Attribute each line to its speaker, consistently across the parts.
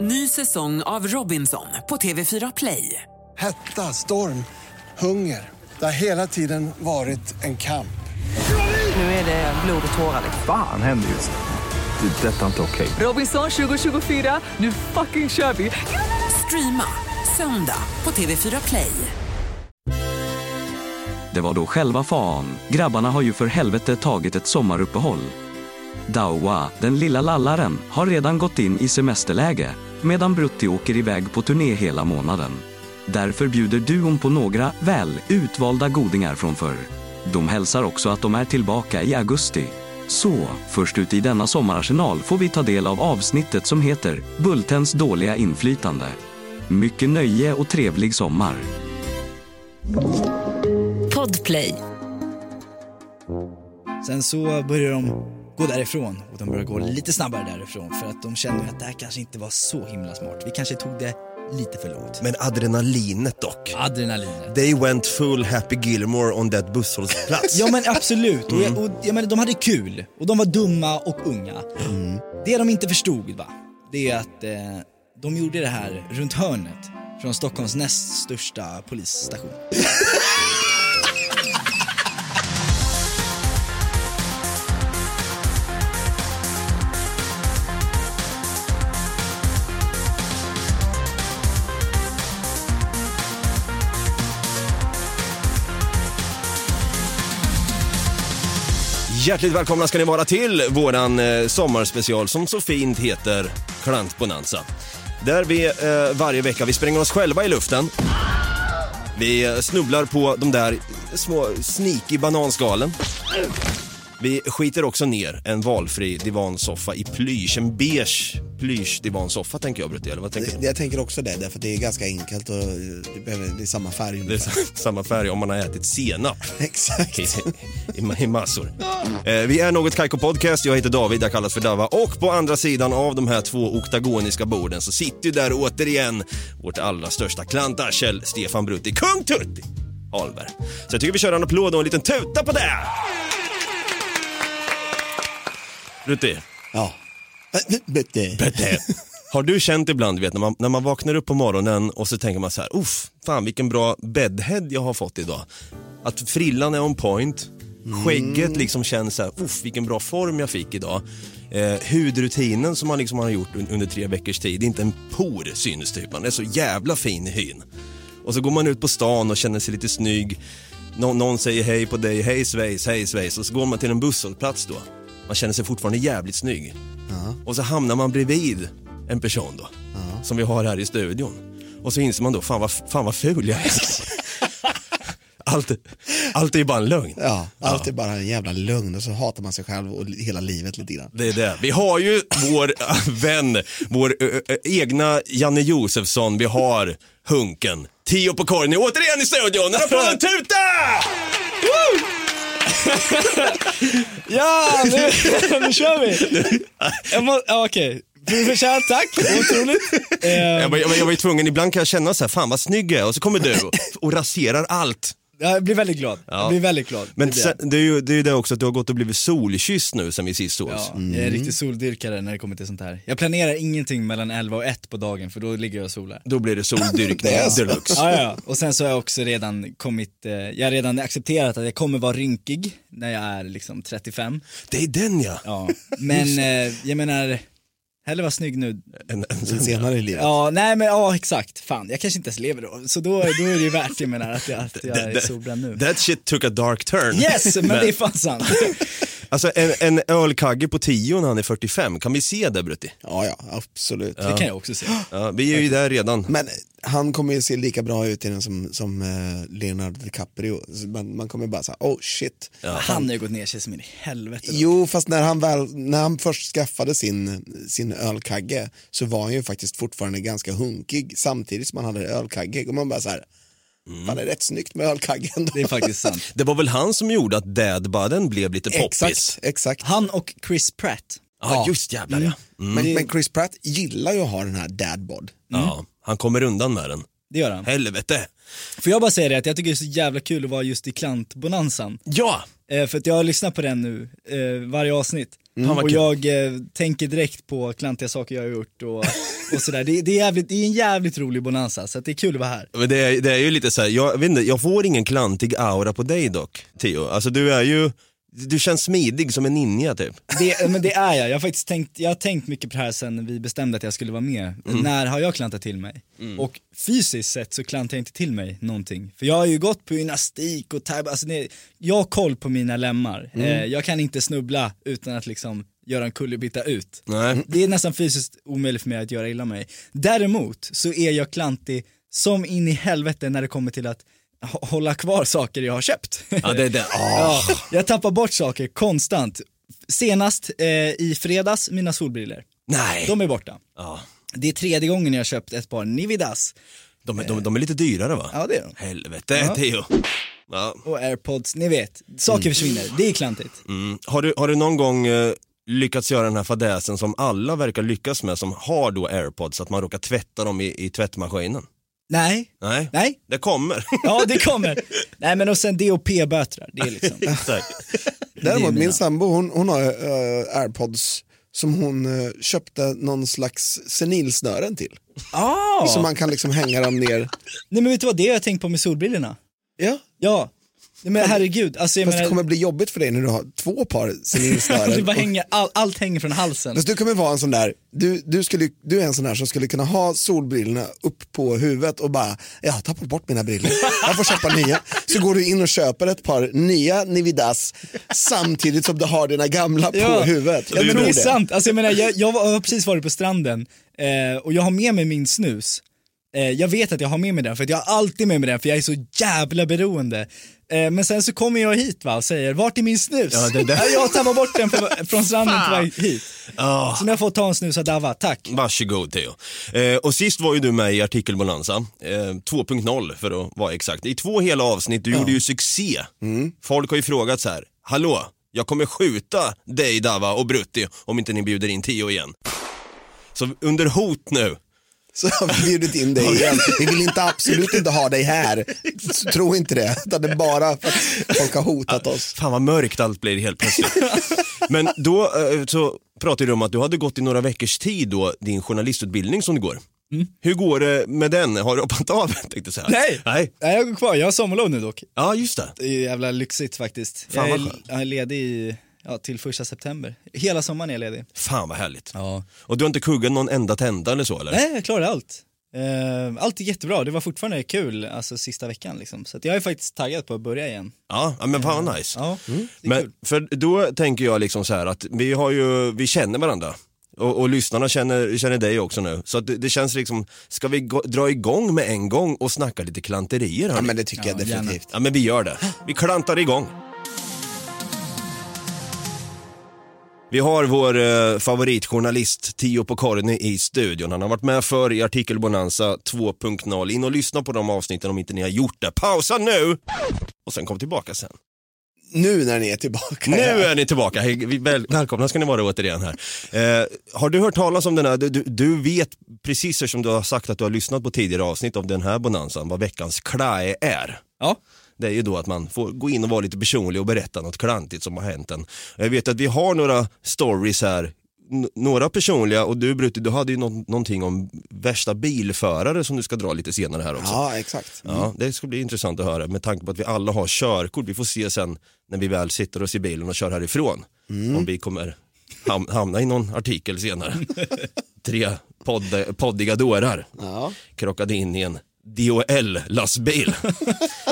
Speaker 1: Ny säsong av Robinson på TV4 Play.
Speaker 2: Hetta, storm, hunger. Det har hela tiden varit en kamp.
Speaker 1: Nu är det blod och tårar. liksom.
Speaker 3: Fan händer just nu. Det. är Detta är inte okej.
Speaker 1: Robinson 2024, nu fucking kör vi! Streama söndag på TV4 Play.
Speaker 4: Det var då själva fan. Grabbarna har ju för helvete tagit ett sommaruppehåll. Dawa, den lilla lallaren, har redan gått in i semesterläge medan Brutti åker iväg på turné hela månaden. Därför bjuder duon på några, väl, utvalda godingar från förr. De hälsar också att de är tillbaka i augusti. Så, först ut i denna sommararsenal får vi ta del av avsnittet som heter Bultens dåliga inflytande. Mycket nöje och trevlig sommar!
Speaker 5: Podplay.
Speaker 6: Sen så börjar de gå därifrån och de börjar gå lite snabbare därifrån för att de känner att det här kanske inte var så himla smart. Vi kanske tog det lite för långt.
Speaker 7: Men adrenalinet dock.
Speaker 6: Adrenalinet.
Speaker 7: They went full Happy Gilmore on that busshållplats.
Speaker 6: Ja men absolut, och, jag,
Speaker 8: Mm.
Speaker 6: och jag menar, de hade kul och de var dumma och unga.
Speaker 8: Mm.
Speaker 6: Det de inte förstod va, det är att eh, de gjorde det här runt hörnet från Stockholms näst största polisstation.
Speaker 7: Hjärtligt välkomna ska ni vara till våran eh, sommarspecial som så fint heter Klantbonanza. Där vi eh, varje vecka, vi spränger oss själva i luften. Vi eh, snubblar på de där små sneaky bananskalen. Vi skiter också ner en valfri divansoffa i plysch, en beige plyschdivansoffa tänker jag Brutti, eller vad tänker du?
Speaker 8: Jag tänker också det, därför att det är ganska enkelt och eh, det, behöver, det är samma färg
Speaker 7: Det är
Speaker 8: ungefär.
Speaker 7: sa- samma färg om man har ätit senap.
Speaker 8: Exakt.
Speaker 7: i, i, i massor. Eh, vi är Något Kaiko Podcast, jag heter David, jag kallas för Dava och på andra sidan av de här två oktagoniska borden så sitter ju där återigen vårt allra största klantarsel Stefan Brutti, Kung Tutti Ahlberg. Så jag tycker vi kör en applåd och en liten tuta på det! Brutti,
Speaker 8: Ja. Bete.
Speaker 7: Brutti. Har du känt ibland, du vet, när man, när man vaknar upp på morgonen och så tänker man så här, uff, fan vilken bra bedhead jag har fått idag. Att frillan är on point, skägget liksom känns så här, uff vilken bra form jag fick idag. Eh, hudrutinen som man liksom har gjort un- under tre veckors tid, inte en por syns typ, man är så jävla fin i hyn. Och så går man ut på stan och känner sig lite snygg. Nå- någon säger hej på dig, hej svejs, hej svejs. Och så går man till en busshållplats då. Man känner sig fortfarande jävligt snygg. Och så hamnar man bredvid en person då, som vi har här i studion. Och så inser man då, fan vad, fan vad ful jag är. allt, allt är bara en lögn.
Speaker 8: Ja, allt är bara en jävla lögn och så hatar man sig själv och hela livet lite grann.
Speaker 7: Det är det. Vi har ju vår äh, vän, vår ö, ö, ö, egna Janne Josefsson, vi har Hunken. Tio på korgen är återigen i studion! En applåd och en tuta! Woo!
Speaker 6: Ja, nu, nu kör vi! Jag må- ja, Okej, okay. förtjänt tack, otroligt. Eh,
Speaker 7: Jag, var- jag, var- jag var ju tvungen, ibland kan jag känna så här, fan vad snygg jag är, och så kommer du och, och raserar allt.
Speaker 6: jag blir väldigt glad, jag blir väldigt glad.
Speaker 7: Men
Speaker 6: Det blir
Speaker 7: sen, det är ju det, är ju det också att du har gått och blivit solkysst nu sen vi sist sågs.
Speaker 6: jag. ja, Jag
Speaker 8: Mm.
Speaker 6: är riktig soldyrkare när det kommer till sånt här. Jag planerar ingenting mellan 11 och 1 på dagen för då ligger jag och solar.
Speaker 7: Då blir det soldyrkning
Speaker 8: Det är så.
Speaker 7: deluxe.
Speaker 6: Ja, ja, ja. Och sen så har jag också redan kommit, eh, jag har redan accepterat att jag kommer vara rynkig när jag är liksom 35.
Speaker 7: Det är den ja.
Speaker 6: Ja. Men eh, jag menar, hellre vara snygg nu.
Speaker 7: En, en,
Speaker 8: Sen senare i livet.
Speaker 6: Ja, nej men ja exakt, fan jag kanske inte ens lever då. Så då, då är det ju värt jag menar att jag, att jag är solbränd nu.
Speaker 7: That shit took a dark turn.
Speaker 6: Yes, men det är fan sant.
Speaker 7: Alltså en, en ölkagge på 10 när han är 45, kan vi se det Brutti?
Speaker 8: Ja, ja, absolut.
Speaker 6: Det kan jag också se.
Speaker 7: Ja, vi är ju där redan.
Speaker 8: Men han kommer ju se lika bra ut i den som, som eh, Leonardo DiCaprio. Så Man, man kommer bara säga, oh shit.
Speaker 6: Han har ju gått ner sig som in i helvete. då.
Speaker 8: Jo, fast när han, väl, när han först skaffade sin, sin ölkagge så var han ju faktiskt fortfarande ganska hunkig samtidigt som han hade ölkagge. Och man bara så här, fan det är rätt snyggt med ölkaggen. ändå."
Speaker 6: Det är faktiskt sant.
Speaker 7: Det var väl han som gjorde att dadbudden blev lite poppis?
Speaker 8: Exakt, exakt.
Speaker 6: Han och Chris Pratt.
Speaker 7: Ja, just jävlar ja. Mm.
Speaker 8: Men, men Chris Pratt gillar ju att ha den här dadbod.
Speaker 7: ja. Han kommer undan med den.
Speaker 6: Det gör han.
Speaker 7: Helvete.
Speaker 6: Får jag bara säga det att jag tycker det är så jävla kul att vara just i klantbonanzan.
Speaker 7: Ja,
Speaker 6: Eh, för att jag har lyssnat på den nu, eh, varje avsnitt.
Speaker 7: Han var
Speaker 6: Och
Speaker 7: kul.
Speaker 6: jag eh, tänker direkt på klantiga saker jag har gjort och, och sådär. Det, det, är jävligt, det är en jävligt rolig bonanza, så att det är kul att vara här.
Speaker 7: Men det, är, det är ju lite så här, jag, vet inte, jag får ingen klantig aura på dig dock, Theo. Alltså du är ju, du känns smidig som en ninja typ.
Speaker 6: Det, eh, men det är jag, jag har faktiskt tänkt, jag har tänkt mycket på det här sen vi bestämde att jag skulle vara med. När har jag klantat till mig? Och fysiskt sett så klantar jag inte till mig någonting. För jag har ju gått på gymnastik och tab- alltså det, jag har koll på mina lemmar. Eh, jag kan inte snubbla utan att liksom göra en kullerbytta ut.
Speaker 7: Nej.
Speaker 6: Det är nästan fysiskt omöjligt för mig att göra illa mig. Däremot så är jag klantig som in i helvete när det kommer till att hå- hålla kvar saker jag har köpt.
Speaker 7: Ja, det, det, ah.
Speaker 6: Ja, jag tappar bort saker konstant. Senast eh, i fredags, mina solbriller.
Speaker 7: Nej.
Speaker 6: De är borta.
Speaker 7: Ja.
Speaker 6: Det är tredje gången jag har köpt ett par Nividas.
Speaker 7: De, är- de, de är lite dyrare va?
Speaker 6: Ja, det är de.
Speaker 7: Helvete Theo. Ja.
Speaker 6: Och airpods, ni vet. Saker försvinner, det är klantigt.
Speaker 7: Mm. Har, du, har du någon gång eh, lyckats göra den här fadäsen som alla verkar lyckas med som har då airpods, att man råkar tvätta dem i, i tvättmaskinen?
Speaker 6: Nej,
Speaker 7: Nej.
Speaker 6: nej,
Speaker 7: Det kommer.
Speaker 6: ja det kommer. nej men och sen DOP-bötrar, det är liksom.
Speaker 8: Däremot
Speaker 6: mina.
Speaker 8: min sambo, hon, hon har eh, airpods som hon eh, köpte någon slags senilsnören till.
Speaker 6: Ah.
Speaker 8: Så man kan liksom hänga dem ner.
Speaker 6: Nej men vet du vad, det har jag tänkt på med solbrillorna.
Speaker 8: Ja.
Speaker 6: Ja, Nej, men herregud. Alltså, jag
Speaker 8: Fast det
Speaker 6: menar,
Speaker 8: kommer bli jobbigt för dig när du har två par
Speaker 6: det
Speaker 8: senilsnören.
Speaker 6: bara hänger, all, allt hänger från halsen.
Speaker 8: Fast du kommer vara en sån där, du, du, skulle, du är en sån där som skulle kunna ha solbrillorna upp på huvudet och bara, jag har tappat bort mina brillor, jag får köpa nya. Så går du in och köper ett par nya Nividas samtidigt som du har dina gamla på huvudet.
Speaker 6: Ja, men
Speaker 8: tror
Speaker 6: det är sant. Alltså, jag, menar, jag, jag, var, jag har precis varit på stranden eh, och jag har med mig min snus. Eh, jag vet att jag har med mig den för att jag har alltid med mig den för jag är så jävla beroende. Eh, men sen så kommer jag hit va, och säger vart är min snus?
Speaker 7: Ja, det där.
Speaker 6: jag tappar bort den för, från stranden på väg hit.
Speaker 7: Ah.
Speaker 6: Så nu har jag fått ta en snus av Dava, tack.
Speaker 7: Varsågod Theo. Eh, och sist var ju du med i artikelbonanza, eh, 2.0 för att vara exakt. I två hela avsnitt, du gjorde ju succé. Folk har ju frågat så här, hallå, jag kommer skjuta dig Dava och Brutti om inte ni bjuder in Theo igen. Så under hot nu,
Speaker 8: Så har vi bjudit in dig igen. Vi vill inte, absolut inte ha dig här. Tro inte det. Utan det är bara för att folk har hotat oss.
Speaker 7: fan vad mörkt allt blir helt plötsligt. Men då eh, så pratade du om att du hade gått i några veckors tid då, din journalistutbildning som du går. Hur går det med den? Har du hoppat av? Tänkte så här.
Speaker 6: Nej.
Speaker 7: Nej.
Speaker 6: Nej, jag går kvar, jag har sommarlov nu dock.
Speaker 7: Ja, just det.
Speaker 6: Det är jävla lyxigt faktiskt.
Speaker 7: Fan,
Speaker 6: jag,
Speaker 7: vad
Speaker 6: är,
Speaker 7: skönt.
Speaker 6: jag är ledig i, ja, till första september. Hela sommaren är jag ledig.
Speaker 7: Fan vad härligt.
Speaker 6: Ja.
Speaker 7: Och du har inte kuggat någon enda tända eller så eller?
Speaker 6: Nej, jag klarade allt. Eh, allt är jättebra, det var fortfarande kul, alltså sista veckan liksom. Så att jag är faktiskt taggad på att börja igen.
Speaker 7: Ja, ja, men fan vad nice.
Speaker 6: Ja, Mm. det är
Speaker 7: men
Speaker 6: kul.
Speaker 7: för då tänker jag liksom så här att vi har ju, vi känner varandra. Och, och lyssnarna känner, känner dig också nu. Så att det, det känns liksom, ska vi gå, dra igång med en gång och snacka lite klanterier?
Speaker 8: Ja,
Speaker 7: hörni?
Speaker 8: men det tycker jag
Speaker 6: Ja, gärna.
Speaker 8: definitivt.
Speaker 7: ja men vi gör det. Vi klantar igång. Vi har vår eh, favoritjournalist Tio Pokorny i studion. Han har varit med förr i Artikel Bonanza 2.0. In och lyssna på de avsnitten om inte ni har gjort det. Pausa nu! Och sen kom tillbaka sen.
Speaker 8: Nu när ni är
Speaker 6: Mm.
Speaker 8: tillbaka.
Speaker 7: Nu
Speaker 8: här.
Speaker 7: är ni tillbaka. Hej, vi- Väl, välkomna ska ni vara återigen här. Eh, har du hört talas om den här, du, du, du vet precis som du har sagt att du har lyssnat på tidigare avsnitt av den här bonanzan vad veckans klae är.
Speaker 6: Ja.
Speaker 7: Det är ju då att man får gå in och vara lite personlig och berätta något klantigt som har hänt en. Jag vet att vi har några stories här, N- några personliga och du Brutti, du hade ju nå- någonting om värsta bilförare som du ska dra lite senare här också.
Speaker 8: Ja, exakt.
Speaker 7: Ja, det ska bli intressant att höra med tanke på att vi alla har körkort. Vi får se sen när vi väl sitter oss i bilen och kör härifrån. Om vi kommer ham- hamna i någon artikel senare. Tre podd- poddiga dårar
Speaker 8: Ja.
Speaker 7: krockade in i en DHL-lastbil.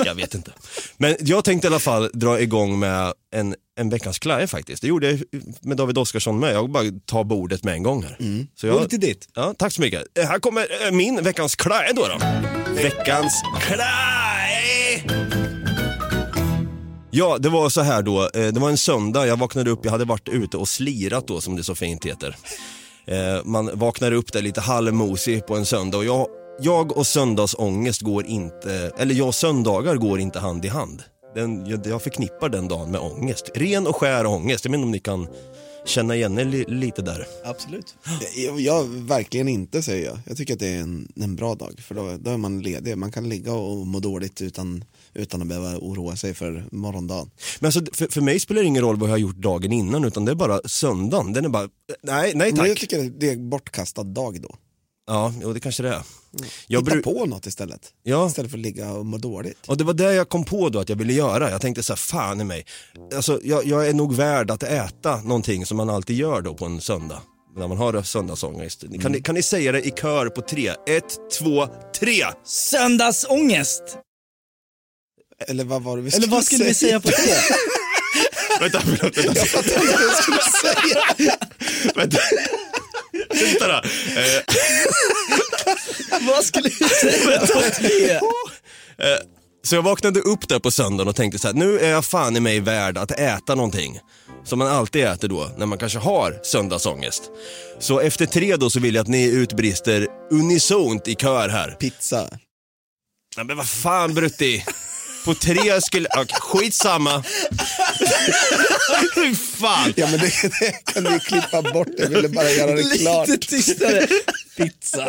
Speaker 7: jag vet inte. Men jag tänkte i alla fall dra igång med en, en veckans klaje faktiskt. Det gjorde jag med David Oskarsson med. Jag bara tar bordet med en gång här. Så jag,
Speaker 6: Gå till ditt.
Speaker 7: Ja, tack så mycket. Eh, Här kommer eh, min veckans klä då. då. Veckans klä! Ja, det var så här då. Eh, Det var en söndag, jag vaknade upp, jag hade varit ute och slirat då som det så fint heter. Eh, Man vaknar upp där lite halvmosig på en söndag och jag, jag och söndagsångest går inte, eller jag och söndagar går inte hand i hand. Den, jag, jag förknippar den dagen med ångest. Ren och skär ångest. Jag menar om ni kan känna igen er li, lite där.
Speaker 6: Absolut.
Speaker 8: Jag, jag, verkligen inte säger jag. Jag tycker att det är en, en bra dag för då, då är man ledig. Man kan ligga och må dåligt utan, utan att behöva oroa sig för morgondagen.
Speaker 7: Men alltså, för, för mig spelar det ingen roll vad jag har gjort dagen innan utan det är bara söndagen. Den är bara, nej, nej
Speaker 8: Men jag
Speaker 7: tack.
Speaker 8: tycker att det är en bortkastad dag då.
Speaker 7: Ja, jo, det kanske det är. Jag
Speaker 8: Mm. Hitta
Speaker 7: bru-
Speaker 8: på något istället.
Speaker 7: Ja.
Speaker 8: Istället för att ligga och må dåligt.
Speaker 7: Och det var det jag kom på då att jag ville göra. Jag tänkte så här, fan i mig. Alltså jag, jag är nog värd att äta någonting som man alltid gör då på en söndag. När man har söndagsångest. Kan, ni, kan ni säga det i kör på tre? Ett, två, tre!
Speaker 6: Söndagsångest!
Speaker 8: Eller vad var det vi
Speaker 6: Eller vad skulle vi säga på det?
Speaker 7: Vänta, förlåt, vänta.
Speaker 8: Jag fattar inte vad jag skulle säga.
Speaker 7: vänta. Vänta då. Eh,
Speaker 6: vad skulle vi säga på det?
Speaker 7: Eh, Så jag vaknade upp där på söndagen och tänkte så här, nu är jag fan i mig värd att äta någonting. Som man alltid äter då, när man kanske har söndagsångest. Så efter tre då så vill jag att ni utbrister unisont i kör här.
Speaker 8: Pizza.
Speaker 7: Nej men vad fan Brutti. På tre skulle... Okay, skitsamma. Hur fan.
Speaker 8: Ja men det, det kan du klippa bort. Jag ville bara göra det klart.
Speaker 6: Lite tystare. Pizza.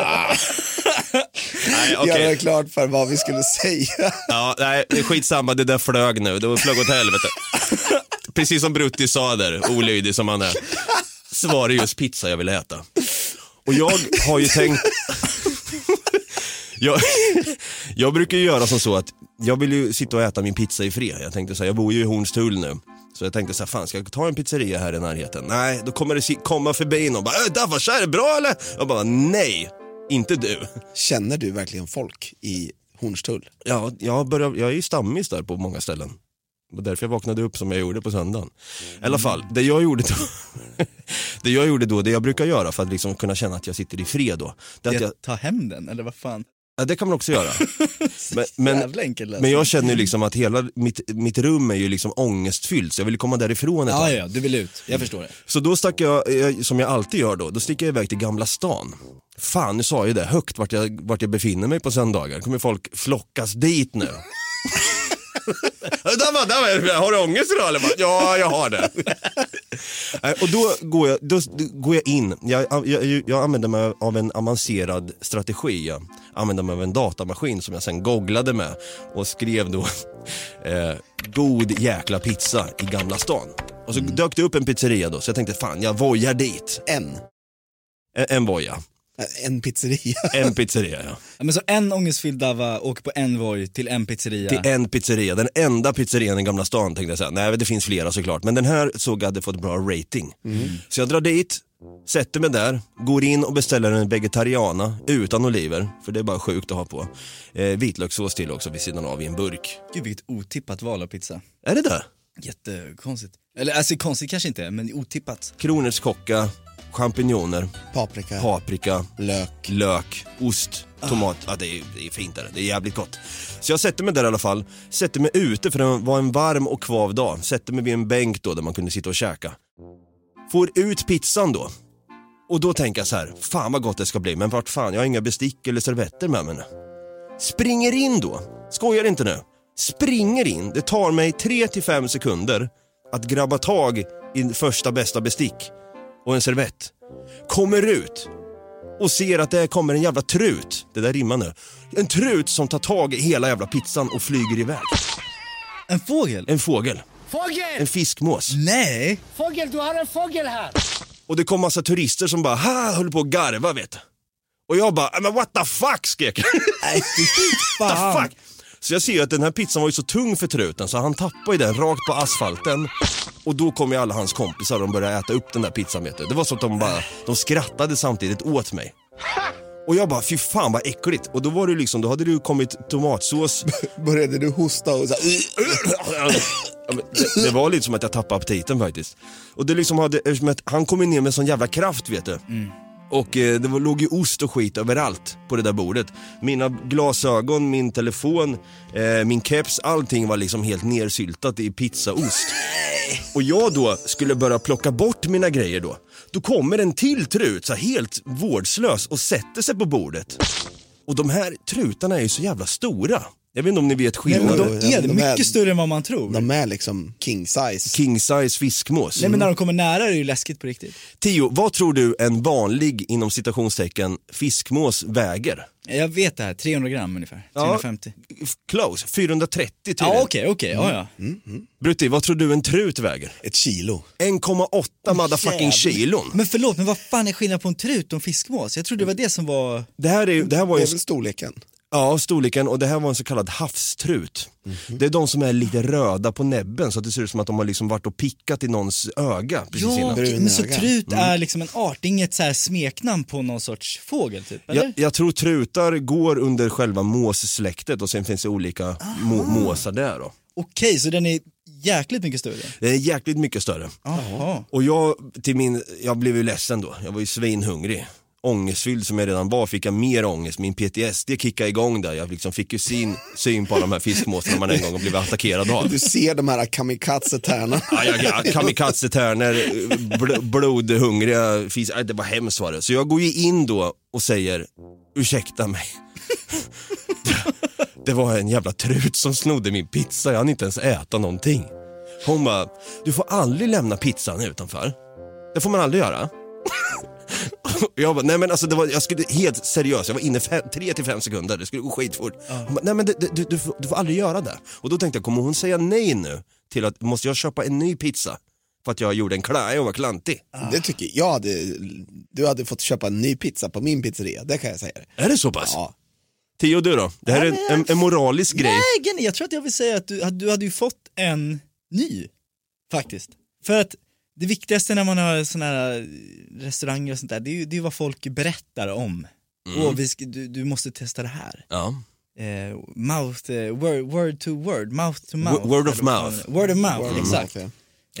Speaker 7: Nej,
Speaker 8: Göra det
Speaker 7: okej.
Speaker 8: klart för vad vi skulle säga.
Speaker 7: Ja, nej, det är skitsamma. Det där flög nu. Det flög åt helvete. Precis som Brutti sa där, olydig som han är. Så var det just pizza jag ville äta. Och jag har ju tänkt... Jag, jag brukar ju göra som så att jag vill ju sitta och äta min pizza i fred. Jag tänkte så här, jag bor ju i Hornstull nu. Så jag tänkte så här, fan ska jag ta en pizzeria här i närheten? Nej, då kommer det si- komma förbi någon och bara, äh, Davas, är det bra eller? Jag bara, nej, inte du.
Speaker 8: Känner du verkligen folk i Hornstull?
Speaker 7: Ja, jag, börjar, jag är ju stammis där på många ställen. Det var därför jag vaknade upp som jag gjorde på söndagen. I alla fall, det jag gjorde då, det jag gjorde då, det jag brukar göra för att liksom kunna känna att jag sitter i fred då. Det, att jag,
Speaker 6: Ta hem den, eller vad fan?
Speaker 7: ja, det kan man också göra. Men, men,
Speaker 6: Jävla enkel
Speaker 7: men
Speaker 6: lösning.
Speaker 7: jag känner ju liksom att hela mitt, mitt rum är ju liksom ångestfyllt så jag vill komma därifrån ett
Speaker 6: Ja,
Speaker 7: tag.
Speaker 6: ja, du vill ut. Jag förstår det.
Speaker 7: Så då stack jag, eh, som jag alltid gör då, då sticker jag iväg till Gamla stan. Fan, nu sa jag ju det högt vart jag, vart jag befinner mig på söndagar. kommer folk flockas dit nu. där var, där var, har du ångest idag eller? Bara, Ja, jag har det. Nej, Och då går jag, då, då går jag in, jag, jag, jag använder mig av en avancerad strategi. Jag använder mig av en datamaskin som jag sen googlade med och skrev då eh, god jäkla pizza i Gamla stan. Och så dök det upp en pizzeria då, så jag tänkte fan jag vojar dit.
Speaker 8: En.
Speaker 7: En, en voja,
Speaker 8: Eh, En pizzeria.
Speaker 7: en pizzeria ja.
Speaker 6: Ja, men så en ångestfylld Dava åker på en Voi till en pizzeria.
Speaker 7: Till en pizzeria, den enda pizzerian i Gamla stan tänkte jag säga. Nej det finns flera såklart, men den här såg jag hade fått bra rating. Så jag drar dit, sätter mig där, går in och beställer en vegetariana utan oliver, för det är bara sjukt att ha på. Eh, vitlökssås till också vid sidan av i en burk.
Speaker 6: Gud vilket otippat val av pizza.
Speaker 7: Är det det?
Speaker 6: Jättekonstigt. Eller alltså konstigt kanske inte, men otippat.
Speaker 7: Kronärtskocka, champinjoner,
Speaker 8: Paprika.
Speaker 7: paprika,
Speaker 8: Lök.
Speaker 7: lök, ost, tomat. Ja, det, är, det är fint där. Det är jävligt gott. Så jag sätter mig där i alla fall. Sätter mig ute för det var en varm och kvav dag. Sätter mig vid en bänk då där man kunde sitta och käka. Får ut pizzan då. Och då tänker jag så här, fan vad gott det ska bli, men vart fan, jag har inga bestick eller servetter med mig nu. Springer in då, skojar inte nu. Springer in, det tar mig 3-5 sekunder att grabba tag i första bästa bestick och en servett. Kommer ut, och ser att det kommer en jävla trut. Det där rimmar nu. En trut som tar tag i hela jävla pizzan och flyger iväg.
Speaker 6: En fågel?
Speaker 7: En fågel.
Speaker 5: Fågel!
Speaker 7: En fiskmås.
Speaker 6: Nej!
Speaker 5: Fågel, du har en fågel här!
Speaker 7: Och det kom massa turister som bara ha, höll på att garva vet du. Och jag bara, "Ah, men what the fuck skrek jag.
Speaker 6: Nej, fy
Speaker 7: What the
Speaker 6: fan.
Speaker 7: fuck? Så jag ser ju att den här pizzan var ju så tung för truten så han tappade ju den rakt på asfalten. Och då kom ju alla hans kompisar och de började äta upp den där pizzan vet du. Det var så att de bara, de skrattade samtidigt åt mig. Och jag bara, fy fan vad äckligt. Och då var det ju liksom, då hade det ju kommit tomatsås
Speaker 8: Började du hosta och så här,
Speaker 7: Ja, men det, det var lite som att jag tappade aptiten faktiskt. Och det liksom hade, eftersom att han kom ju ner med sån jävla kraft vet du. Och eh, det var, låg ju ost och skit överallt på det där bordet. Mina glasögon, min telefon, eh, min keps, allting var liksom helt nersyltat i pizzaost. Och jag då skulle börja plocka bort mina grejer då. Då kommer en till trut, så här helt vårdslös och sätter sig på bordet. Och de här trutarna är ju så jävla stora. Jag vet inte om ni vet
Speaker 6: Nej, men de
Speaker 7: skillnaden.
Speaker 8: Jo, jo,
Speaker 6: är
Speaker 8: de är-
Speaker 6: mycket större än vad man tror.
Speaker 8: De är liksom king size.
Speaker 7: King size fiskmås.
Speaker 6: Nej men när de kommer nära är det ju läskigt på riktigt.
Speaker 7: Tio, vad tror du en vanlig inom citationstecken fiskmås väger?
Speaker 6: Jag vet det här, 300 gram ungefär.
Speaker 7: Ja.
Speaker 6: 350.
Speaker 7: F- Close, 430 tydligen.
Speaker 6: Ja okej, okej, ja ja.
Speaker 7: Brutti, vad tror du en trut väger?
Speaker 8: Ett kilo.
Speaker 7: 1,8 motherfucking kilon.
Speaker 6: Men förlåt, men vad fan är skillnaden på en trut och en fiskmås? Jag trodde det var det som var...
Speaker 7: Det här, är, det här var
Speaker 8: Det
Speaker 7: ju
Speaker 8: är väl storleken.
Speaker 7: ja, storleken och det här var en så kallad havstrut.
Speaker 6: Mhm.
Speaker 7: Det är de som är lite röda på näbben så att det ser ut som att de har liksom varit och pickat i någons öga precis
Speaker 6: Ja,
Speaker 7: innan.
Speaker 6: okej, men så
Speaker 8: Bruna
Speaker 6: trut är liksom en art, det är inget så här smeknamn på någon sorts fågel typ, eller?
Speaker 7: Jag, jag tror trutar går under själva måssläktet och sen finns det olika må, måsar där då.
Speaker 6: Okej, så den är jäkligt mycket större?
Speaker 7: Det är jäkligt Eh, mycket större.
Speaker 6: Jaha.
Speaker 7: Och jag, till min, jag blev ju ledsen då, jag var ju svinhungrig. Ångestfylld som jag redan var fick jag mer ångest, min PTSD kickade igång där. Jag liksom fick ju syn, syn på alla de här fiskmåsarna man en gång har blivit attackerad av.
Speaker 8: Du ser de här kamikaze-tärnorna.
Speaker 7: Ja, jag- jag- Kamikaze-tärnor, bl- blodhungriga fisk. Aj, Det var hemskt var det. Så jag går ju in då och säger, ursäkta mig. Det var en jävla trut som snodde min pizza, jag hann inte ens äta någonting. Hon bara, du får aldrig lämna pizzan utanför. Det får man aldrig göra. Jag bara, nej men alltså det var, jag skulle helt seriöst, jag var inne 3 till 5 sekunder, det skulle gå skitfort. Hon Bara, nej men det, det, du, du, får, du får aldrig göra det. Och då tänkte jag, kommer hon säga nej nu? Till att, måste jag köpa en ny pizza? För att jag gjorde en klaj och var klantig.
Speaker 8: Det tycker jag. hade- Du hade fått köpa en ny pizza på min pizzeria, det kan jag säga. dig.
Speaker 7: Är det så pass?
Speaker 8: Ja.
Speaker 7: Tio du då? Det här är en, en, en moralisk grej.
Speaker 6: Nej, Genny, jag tror att jag vill säga att du, att du hade ju fått en ny, faktiskt. För att det viktigaste när man har såna här eh, restauranger och sånt där, det är ju, det är ju vad folk berättar om.
Speaker 7: Mm.
Speaker 6: Åh, vi ska, du, du måste testa det här.
Speaker 7: Ja.
Speaker 6: Eh, mouth, eh, word, word to word, mouth to
Speaker 7: Wo-
Speaker 6: mouth.
Speaker 7: word of
Speaker 6: Eller vad fan
Speaker 7: mouth.
Speaker 6: det är. Word of mouth,
Speaker 7: Mm.
Speaker 8: Word of
Speaker 6: exakt.
Speaker 8: mouth,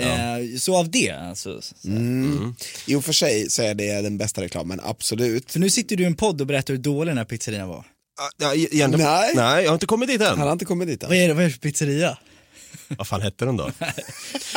Speaker 6: eh, så av det, alltså. så- så-
Speaker 7: Mm.
Speaker 8: I och för sig så är det den bästa reklamen, absolut.
Speaker 6: För nu sitter du i en podd och berättar hur dålig den här pizzerian var.
Speaker 7: Ja, e- egentligen-
Speaker 8: Nej.
Speaker 7: nej, jag har inte kommit dit
Speaker 8: Han
Speaker 7: än.
Speaker 8: har inte kommit dit
Speaker 6: Vad
Speaker 8: än.
Speaker 6: är det, vad är det för pizzeria?
Speaker 7: Vad fan hette den då?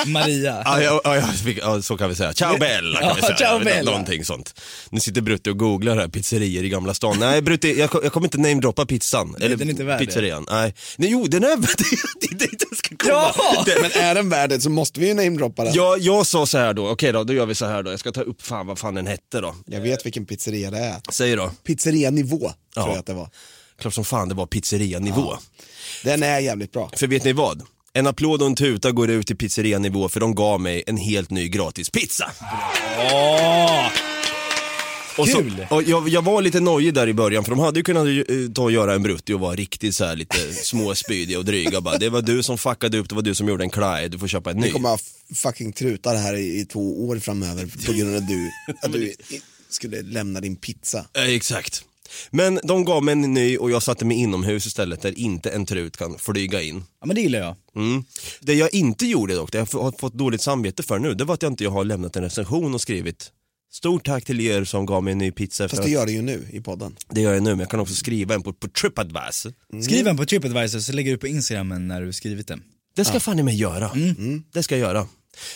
Speaker 6: Maria.
Speaker 7: Ja, ja, ja, jag fick- ja, så kan vi säga. Ciao Bella kan
Speaker 6: Ja,
Speaker 7: vi säga.
Speaker 6: ciao
Speaker 7: Eller nå-
Speaker 6: bella.
Speaker 7: Någonting sånt. Nu sitter Brutti och googlar här, pizzerior i Gamla stan. Nej Brutti, jag, ko- jag kommer inte namedroppa pizzan. Eller
Speaker 6: den är inte värd det.
Speaker 7: pizzerian. Nej. Nej, jo den är värd det. är dit jag ska komma.
Speaker 6: Ja!
Speaker 7: Det-
Speaker 8: Men är den värd det så måste vi ju namedroppa den.
Speaker 7: Jag, jag sa så här då, okej då, då gör vi så här då. Jag ska ta upp fan vad fan den hette då.
Speaker 8: Jag vet vilken pizzeria det är.
Speaker 7: Säg då.
Speaker 8: Pizzerianivå tror
Speaker 7: Ja.
Speaker 8: jag att det var.
Speaker 7: Klart som fan det var pizzerianivå.
Speaker 8: Den är jävligt bra.
Speaker 7: För vet ni vad? En applåd och en tuta går ut till pizzerianivå för de gav mig en helt ny gratis pizza. Och så,
Speaker 6: Kul!
Speaker 7: och jag, jag var lite nojig där i början för de hade ju kunnat eh, ta och göra en brutti och vara riktigt så här lite småspydiga och dryga bara, det var du som fuckade upp, det var du som gjorde en klaj, du får köpa en ny.
Speaker 8: Vi kommer ha f- fucking trutar här i, i två år framöver på grund av att du, att du i- skulle lämna din pizza.
Speaker 7: Eh, Exakt. Men de gav mig en ny och jag satte mig inomhus istället där inte en trut kan flyga in.
Speaker 6: Ja, men det gillar jag.
Speaker 7: Mm. Det jag inte gjorde dock, det jag har fått dåligt samvete för nu, det var att jag inte har lämnat en recension och skrivit Stort tack till er som gav mig en ny pizza. För
Speaker 8: Fast
Speaker 7: att,
Speaker 8: det
Speaker 7: det, gör...
Speaker 8: gör det ju nu i podden.
Speaker 7: jag nu, men jag kan också skriva en på, på Tripadvisor. Mm.
Speaker 6: Skriv en på Tripadvisor så lägger du på Instagram när du skrivit den.
Speaker 7: Det ska fan i mig göra. Mm. Det ska jag göra.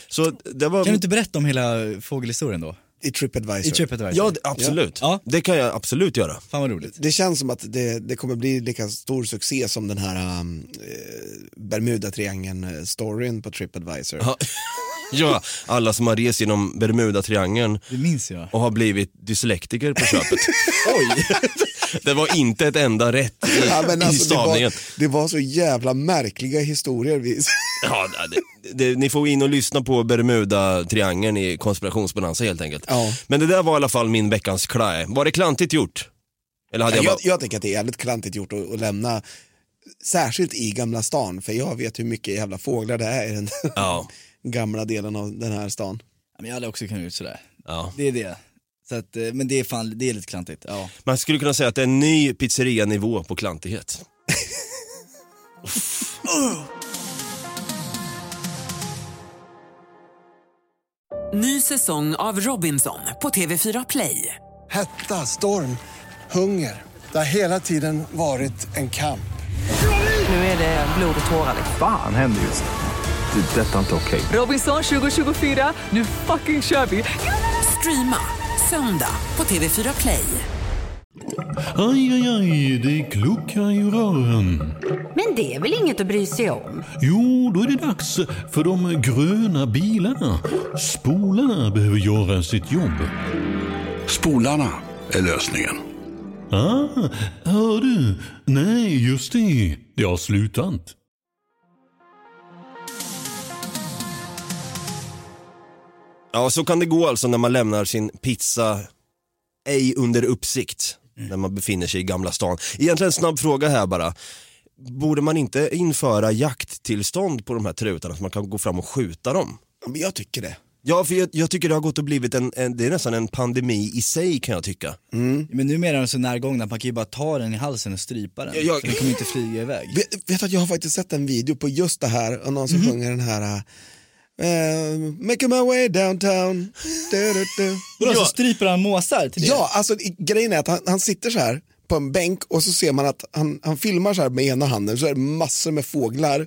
Speaker 7: Så det var...
Speaker 6: Kan du inte berätta om hela fågelhistorien då?
Speaker 8: I Tripadvisor.
Speaker 6: I Tripadvisor?
Speaker 7: Ja, det- absolut.
Speaker 6: Ja.
Speaker 7: Det kan jag absolut göra.
Speaker 6: Fan vad roligt.
Speaker 8: Det känns som att det, det kommer bli lika stor succé som den här um, Bermuda-triangeln-storyn på Tripadvisor.
Speaker 7: Ja, alla som har rest genom Bermuda-triangeln
Speaker 6: Det minns jag.
Speaker 7: och har blivit dyslektiker på köpet. Oj! Det var inte ett enda rätt i,
Speaker 8: Ja, men alltså,
Speaker 7: i
Speaker 8: det,
Speaker 7: stavningen.
Speaker 8: var, det var så jävla märkliga historier. Vi,
Speaker 7: Ja, det, det, ni får gå in och lyssna på Bermuda-triangeln i konspirationsbonanza helt enkelt.
Speaker 8: Ja.
Speaker 7: Men det där var i alla fall min veckans klaj. Var det klantigt gjort? Eller hade
Speaker 8: jag,
Speaker 7: jag, bara...
Speaker 8: jag, tycker att det är jävligt klantigt gjort att, att lämna, särskilt i Gamla stan, för jag vet hur mycket jävla fåglar det är i den
Speaker 7: Ja,
Speaker 8: gamla delen av den här stan.
Speaker 6: Men jag hade också kunnat gjort sådär.
Speaker 7: ja.
Speaker 6: Det är det. Så att, eh, men det är fan, det är lite klantigt. Ja.
Speaker 7: Man skulle kunna säga att det är en ny pizzerianivå på klantighet.
Speaker 1: Ny säsong av Robinson på TV4 Play.
Speaker 2: Hetta, storm, hunger. Det har hela tiden varit en kamp.
Speaker 1: Nu är det blod och tårar.
Speaker 3: Fan händer just det. Det är detta inte okej.
Speaker 1: Robinson 2024, nu fucking kör vi! Streama söndag på TV4 Play.
Speaker 9: Aj, aj, aj, det kluckar i rören.
Speaker 10: Men det är väl inget att bry sig om?
Speaker 9: Jo, då är det dags för de gröna bilarna. Spolarna behöver göra sitt jobb.
Speaker 11: Spolarna är lösningen.
Speaker 9: Ah, hör du? Nej, just det. Det har slutat.
Speaker 7: Ja, så kan det gå alltså när man lämnar sin pizza ej under uppsikt när man befinner sig i Gamla stan. Egentligen en snabb fråga här bara. Borde man inte införa jakttillstånd på de här trutarna så man kan gå fram och skjuta dem?
Speaker 8: Ja, men jag tycker det.
Speaker 7: Ja, för jag, jag tycker det har gått och blivit en, en, det är nästan en pandemi i sig kan jag tycka.
Speaker 8: Mm.
Speaker 6: Men numera är de så närgångna att man kan ju bara ta den i halsen och strypa den.
Speaker 7: Ja, jag-
Speaker 6: Så den kommer inte flyga iväg.
Speaker 8: Vet, vet du att jag har faktiskt sett en video på just det här och någon som sjunger den här eh, Making my way downtown. Du, du, du.
Speaker 6: Vadå, så stryper han måsar till det?
Speaker 8: Ja, alltså i- grejen är att han, han sitter så här på en bänk och så ser man att han, han filmar så här med ena handen så är det massor med fåglar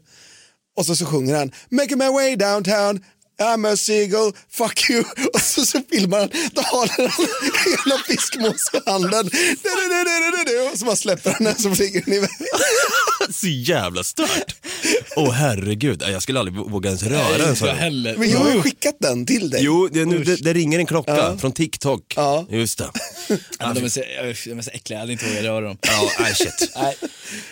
Speaker 8: och så, så sjunger han Making my way downtown I'm a seagull, fuck you. Och så, så filmar han, då håller han hela fiskmås i handen. Du, du, du, du, du, du, du. Och så bara släpper han den så flyger den iväg.
Speaker 7: Så jävla stört. Åh herregud, jag skulle aldrig våga ens
Speaker 6: Nej,
Speaker 7: röra en
Speaker 6: inte
Speaker 7: sån.
Speaker 6: jag heller.
Speaker 8: Men jag har ju skickat den till dig.
Speaker 7: Jo, det, nu, det, det ringer en klocka från TikTok.
Speaker 8: Ja.
Speaker 7: Just det.
Speaker 6: Ja, men de är så, de är så äckliga, jag hade inte vågat röra dem.
Speaker 7: Ja, nej shit.
Speaker 6: Nej.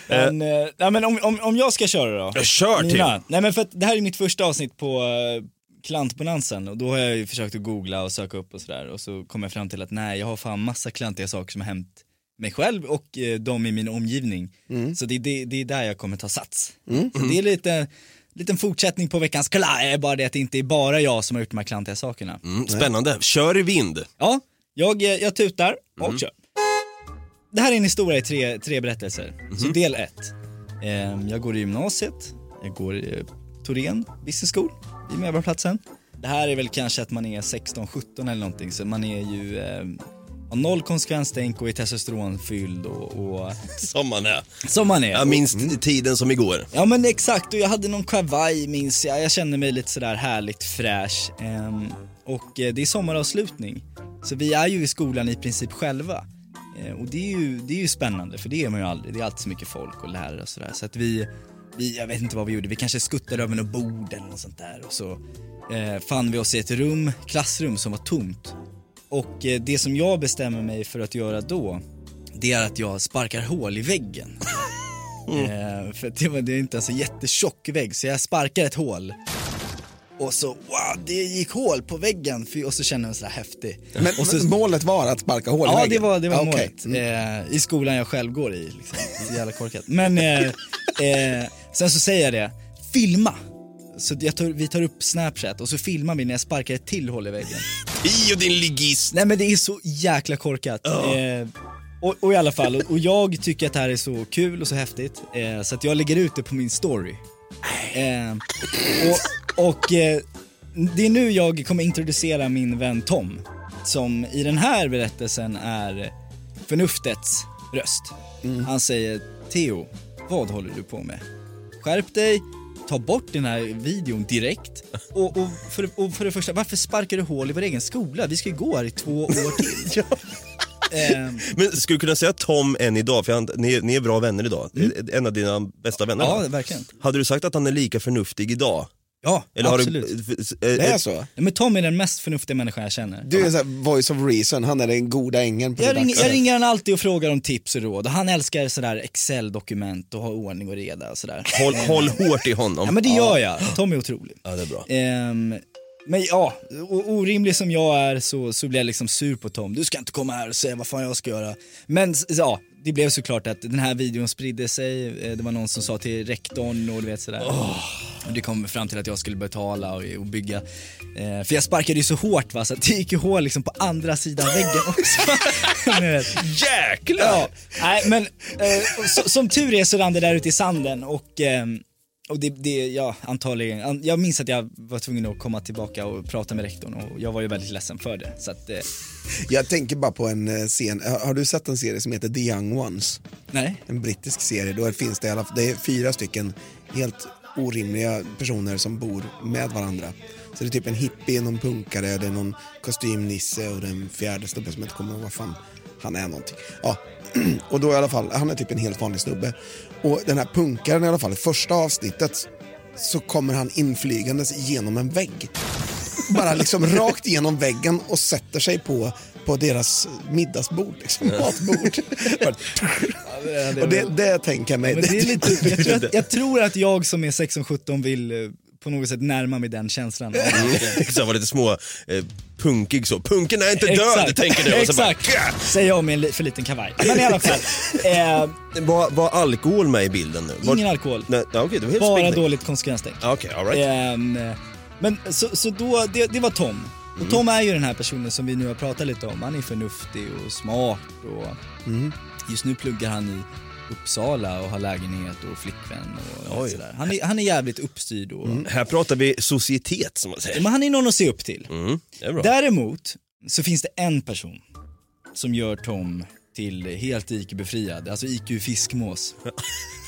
Speaker 6: Men, eh, nej, men om, om, om jag ska köra då?
Speaker 7: Jag kör till.
Speaker 6: Mina. Nej men för att det här är mitt första avsnitt på eh, klantbonansen och då har jag ju försökt att googla och söka upp och sådär och så kom jag fram till att nej jag har fan massa klantiga saker som har hänt mig själv och eh, de i min omgivning.
Speaker 7: Mm.
Speaker 6: Så det, det, det är där jag kommer ta sats. Så det är lite, liten fortsättning på veckans klaj, bara det att det inte är bara jag som har gjort de här klantiga sakerna.
Speaker 7: Mm, spännande. Kör i vind.
Speaker 6: Ja, jag, eh, jag tutar och kör. Det här är en historia i tre, tre berättelser. Så del ett. Ehm, Jag går i gymnasiet, jag går i Torén Business School i Medborgarplatsen. Det här är väl kanske att man är 16-17 eller någonting så man är ju ehm, har noll konsekvenstänk och är testosteronfylld och, och
Speaker 7: Som man är.
Speaker 6: som man är.
Speaker 7: Jag minns tiden som igår.
Speaker 6: Ja men exakt, och jag hade någon kavaj minns jag. Jag kände mig lite sådär härligt fräsch. Ehm, och eh, det är sommaravslutning, så vi är ju i skolan i princip själva. Eh, och det är, ju, det är ju spännande, för det är man ju aldrig. Det är alltid så mycket folk och lärare och sådär. Så att vi, vi, jag vet inte vad vi gjorde, vi kanske skuttade över något bord eller något sånt där. Och så eh, fann vi oss i ett rum, klassrum som var tomt. Och eh, det som jag bestämmer mig för att göra då, det är att jag sparkar hål i väggen. Eh, för att det, var, det är inte en så jättetjock vägg, så jag sparkar ett hål. Och så, wow, det gick hål på väggen. Fy, och så känner jag mig sådär häftig.
Speaker 8: Men,
Speaker 6: och så,
Speaker 8: men målet var att sparka hål i
Speaker 6: Ja,
Speaker 8: väggen?
Speaker 6: det var, det var
Speaker 8: Ah, okej.
Speaker 6: målet. Eh, I skolan jag själv går i. Liksom. Så jävla korkat. Men eh, eh, sen så säger jag det, filma. Så jag tar, vi tar upp Snapchat och så filmar vi när jag sparkar ett till hål i väggen.
Speaker 7: I och din ligist.
Speaker 6: Nej men det är så jäkla korkat. Eh, och, och i alla fall, och, och jag tycker att det här är så kul och så häftigt eh, så att jag lägger ut det på min story. Eh, och och eh, det är nu jag kommer introducera min vän Tom som i den här berättelsen är förnuftets röst. Han säger Theo, vad håller du på med? Skärp dig, ta bort den här videon direkt. Och, och, för, och för det första, varför sparkar du hål i vår egen skola? Vi ska ju gå här i två år till. Ehm,
Speaker 7: Men skulle du kunna säga Tom än idag, för han, ni, ni är bra vänner idag. En av dina bästa vänner.
Speaker 6: ja, verkligen.
Speaker 7: Hade du sagt att han är lika förnuftig idag?
Speaker 6: Ja,
Speaker 7: Eller
Speaker 6: absolut.
Speaker 7: Har du, f- f-
Speaker 8: Det är
Speaker 7: ett-
Speaker 8: så?
Speaker 6: Ja, Men Tom är den mest förnuftiga människan jag känner.
Speaker 8: Du är så här voice of reason, han är den goda ängeln på
Speaker 6: Jag
Speaker 8: det
Speaker 6: ringer,
Speaker 8: där.
Speaker 6: jag ringer han alltid och frågar om tips och råd och han älskar sådär Excel-dokument och ha ordning och reda och sådär.
Speaker 7: håll, håll hårt i honom.
Speaker 6: Ja men det gör jag, Tom är otrolig.
Speaker 7: Ja, det är bra.
Speaker 6: Ehm, men ja, o- orimlig som jag är så, så blir jag liksom sur på Tom. Du ska inte komma här och säga vad fan jag ska göra. Men s- ja, det blev såklart att den här videon spridde sig. Eh, Det var någon som sa till rektorn och du vet sådär. Och det kom fram till att jag skulle betala och, och bygga. Eh, för jag sparkade ju så hårt va, så att det gick ju hål liksom på andra sidan väggen också. Ni vet.
Speaker 7: Jäklar!
Speaker 6: Ja, nej men eh, och så, som tur är så rann det där ute i sanden och, ehm, och det, det, ja antagligen, an- jag minns att jag var tvungen att komma tillbaka och prata med rektorn och jag var ju väldigt ledsen för det. Så att, eh,
Speaker 8: Jag tänker bara på en eh, scen, har har du sett en serie som heter The Young Ones?
Speaker 6: nej.
Speaker 8: En brittisk serie, då finns det, i alla, det är fyra stycken helt orimliga personer som bor med varandra. Så det är typ en hippie, någon punkare, det är någon kostymnisse och den fjärde snubben som jag inte kommer ihåg vad fan han är någonting. Ja, och då i alla fall, han är typ en helt vanlig snubbe. Och den här punkaren i alla fall, i första avsnittet så kommer han inflygandes genom en vägg. Bara liksom rakt genom väggen och sätter sig på, på deras middagsbord, liksom, matbord. Bara- och det, det tänker jag mig.
Speaker 6: Men det är lite, jag, tror att, jag tror att jag som är 16-17 vill eh, på något sätt närma mig den känslan. av att, eh,
Speaker 7: Exakt, var lite små, eh, punkig så. Punken är inte död, tänker du. Och så bara,
Speaker 6: Exakt, säger jag med en li- för liten kavaj. Men i alla fall, eh,
Speaker 7: var, var alkohol med i bilden nu? Var,
Speaker 6: ingen alkohol.
Speaker 7: Nej, ja, okej, det var helt
Speaker 6: Bara
Speaker 7: spickning.
Speaker 6: dåligt konsekvenstänk.
Speaker 7: Ja, Okej, all right.
Speaker 6: Ehm, men så, så då, det, det var Tom.
Speaker 7: Mm.
Speaker 6: Och Tom är ju den här personen som vi nu har pratat lite om. Han är förnuftig och smart och
Speaker 7: Mm.
Speaker 6: just nu pluggar han i Uppsala och har lägenhet och flickvän och allt sådär. Han är, han är jävligt uppstyrd och
Speaker 7: Mm, Här pratar vi societet som man säger.
Speaker 6: men han är någon att se upp till.
Speaker 7: Mm, det är bra.
Speaker 6: Däremot så finns det en person som gör Tom till helt IQ-befriad, alltså IQ fiskmås.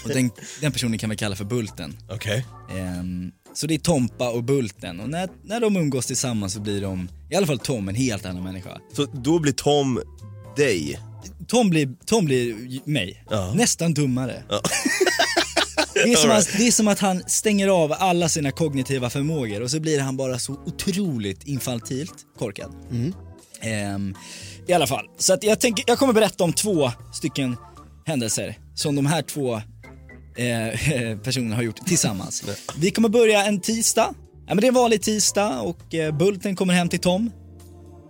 Speaker 6: Och den, den personen kan vi kalla för Bulten.
Speaker 7: Okej.
Speaker 6: Ehm, så det är Tompa och Bulten och när, när de umgås tillsammans så blir de, i alla fall Tom, en helt annan människa.
Speaker 7: Så då blir Tom dig.
Speaker 6: Tom blir, Tom blir ju- mig,
Speaker 7: Ja.
Speaker 6: nästan dummare. Det är, som att, det är som att han stänger av alla sina kognitiva förmågor och så blir han bara så otroligt infantilt korkad.
Speaker 7: Mm.
Speaker 6: Ehm, I alla fall, så att jag, tänker, jag kommer berätta om två stycken händelser som de här två eh, personerna har gjort tillsammans. Vi kommer börja en tisdag. Ja, men det är en vanlig tisdag och eh, Bulten kommer hem till Tom.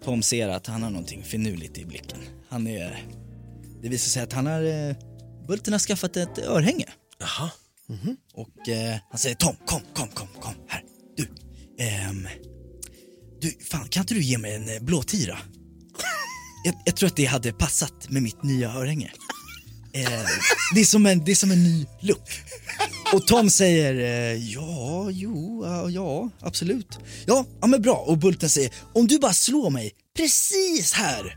Speaker 6: Tom ser att han har någonting finurligt i blicken. Han är... Det visar sig att han har... eh, Bulten har skaffat ett örhänge.
Speaker 7: Jaha.
Speaker 6: Och eh, han säger Tom, kom, kom, kom, kom, här. Du, ehm, du, fan kan inte du ge mig en eh, blåtira? Jag, jag tror att det hade passat med mitt nya örhänge. Eh, det, är som en, det är som en ny look. Och Tom säger eh, ja, jo, ja, ja, absolut. Ja, ja, men bra. Och Bulten säger om du bara slår mig precis här.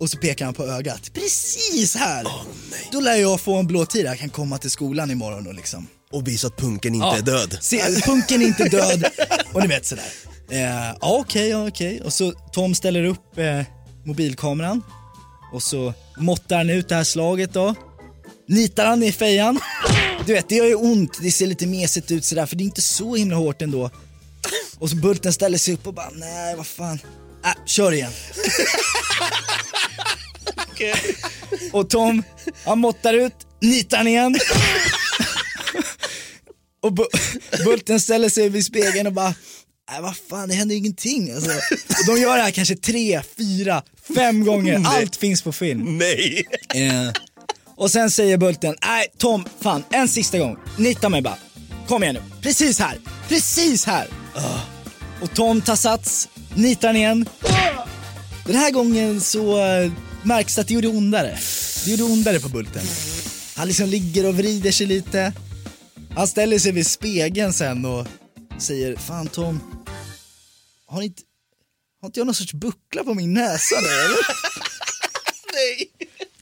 Speaker 6: Och så pekar han på ögat. Precis här! Då lär jag få en blåtira. Jag kan komma till skolan imorgon och liksom
Speaker 7: Och visa att punken inte är död.
Speaker 6: Se, punken är inte död. Och ni vet sådär. Eh, Ja, okej, ja, okej. Och så Tom ställer upp eh, mobilkameran. Och så måttar han ut det här slaget då. Nitar han i fejan. Du vet, det gör ju ont. Det ser lite mesigt ut sådär, för det är inte så himla hårt ändå. Och så Bulten ställer sig upp och bara, nej vad fan. Äh, kör igen. Och Tom, han måttar ut, nitar han igen. Och Bu- Bulten ställer sig vid spegeln och bara, nej vad fan det händer ju ingenting. Alltså, Och de gör det här kanske tre, fyra, fem gånger. Allt finns på film.
Speaker 7: Nej!
Speaker 6: Eh, och sen säger Bulten, nej Tom, fan en sista gång. Nita mig bara. Kom igen nu. Precis här. Precis här. Ah. Och Tom tar sats, nitar han igen. Den här gången så eh, märks det att det gjorde ondare. Det gjorde ondare på Bulten. Han liksom ligger och vrider sig lite. Han ställer sig vid spegeln sen och säger, fan Tom, har, ni inte, har inte jag någon sorts buckla på min näsa nu eller?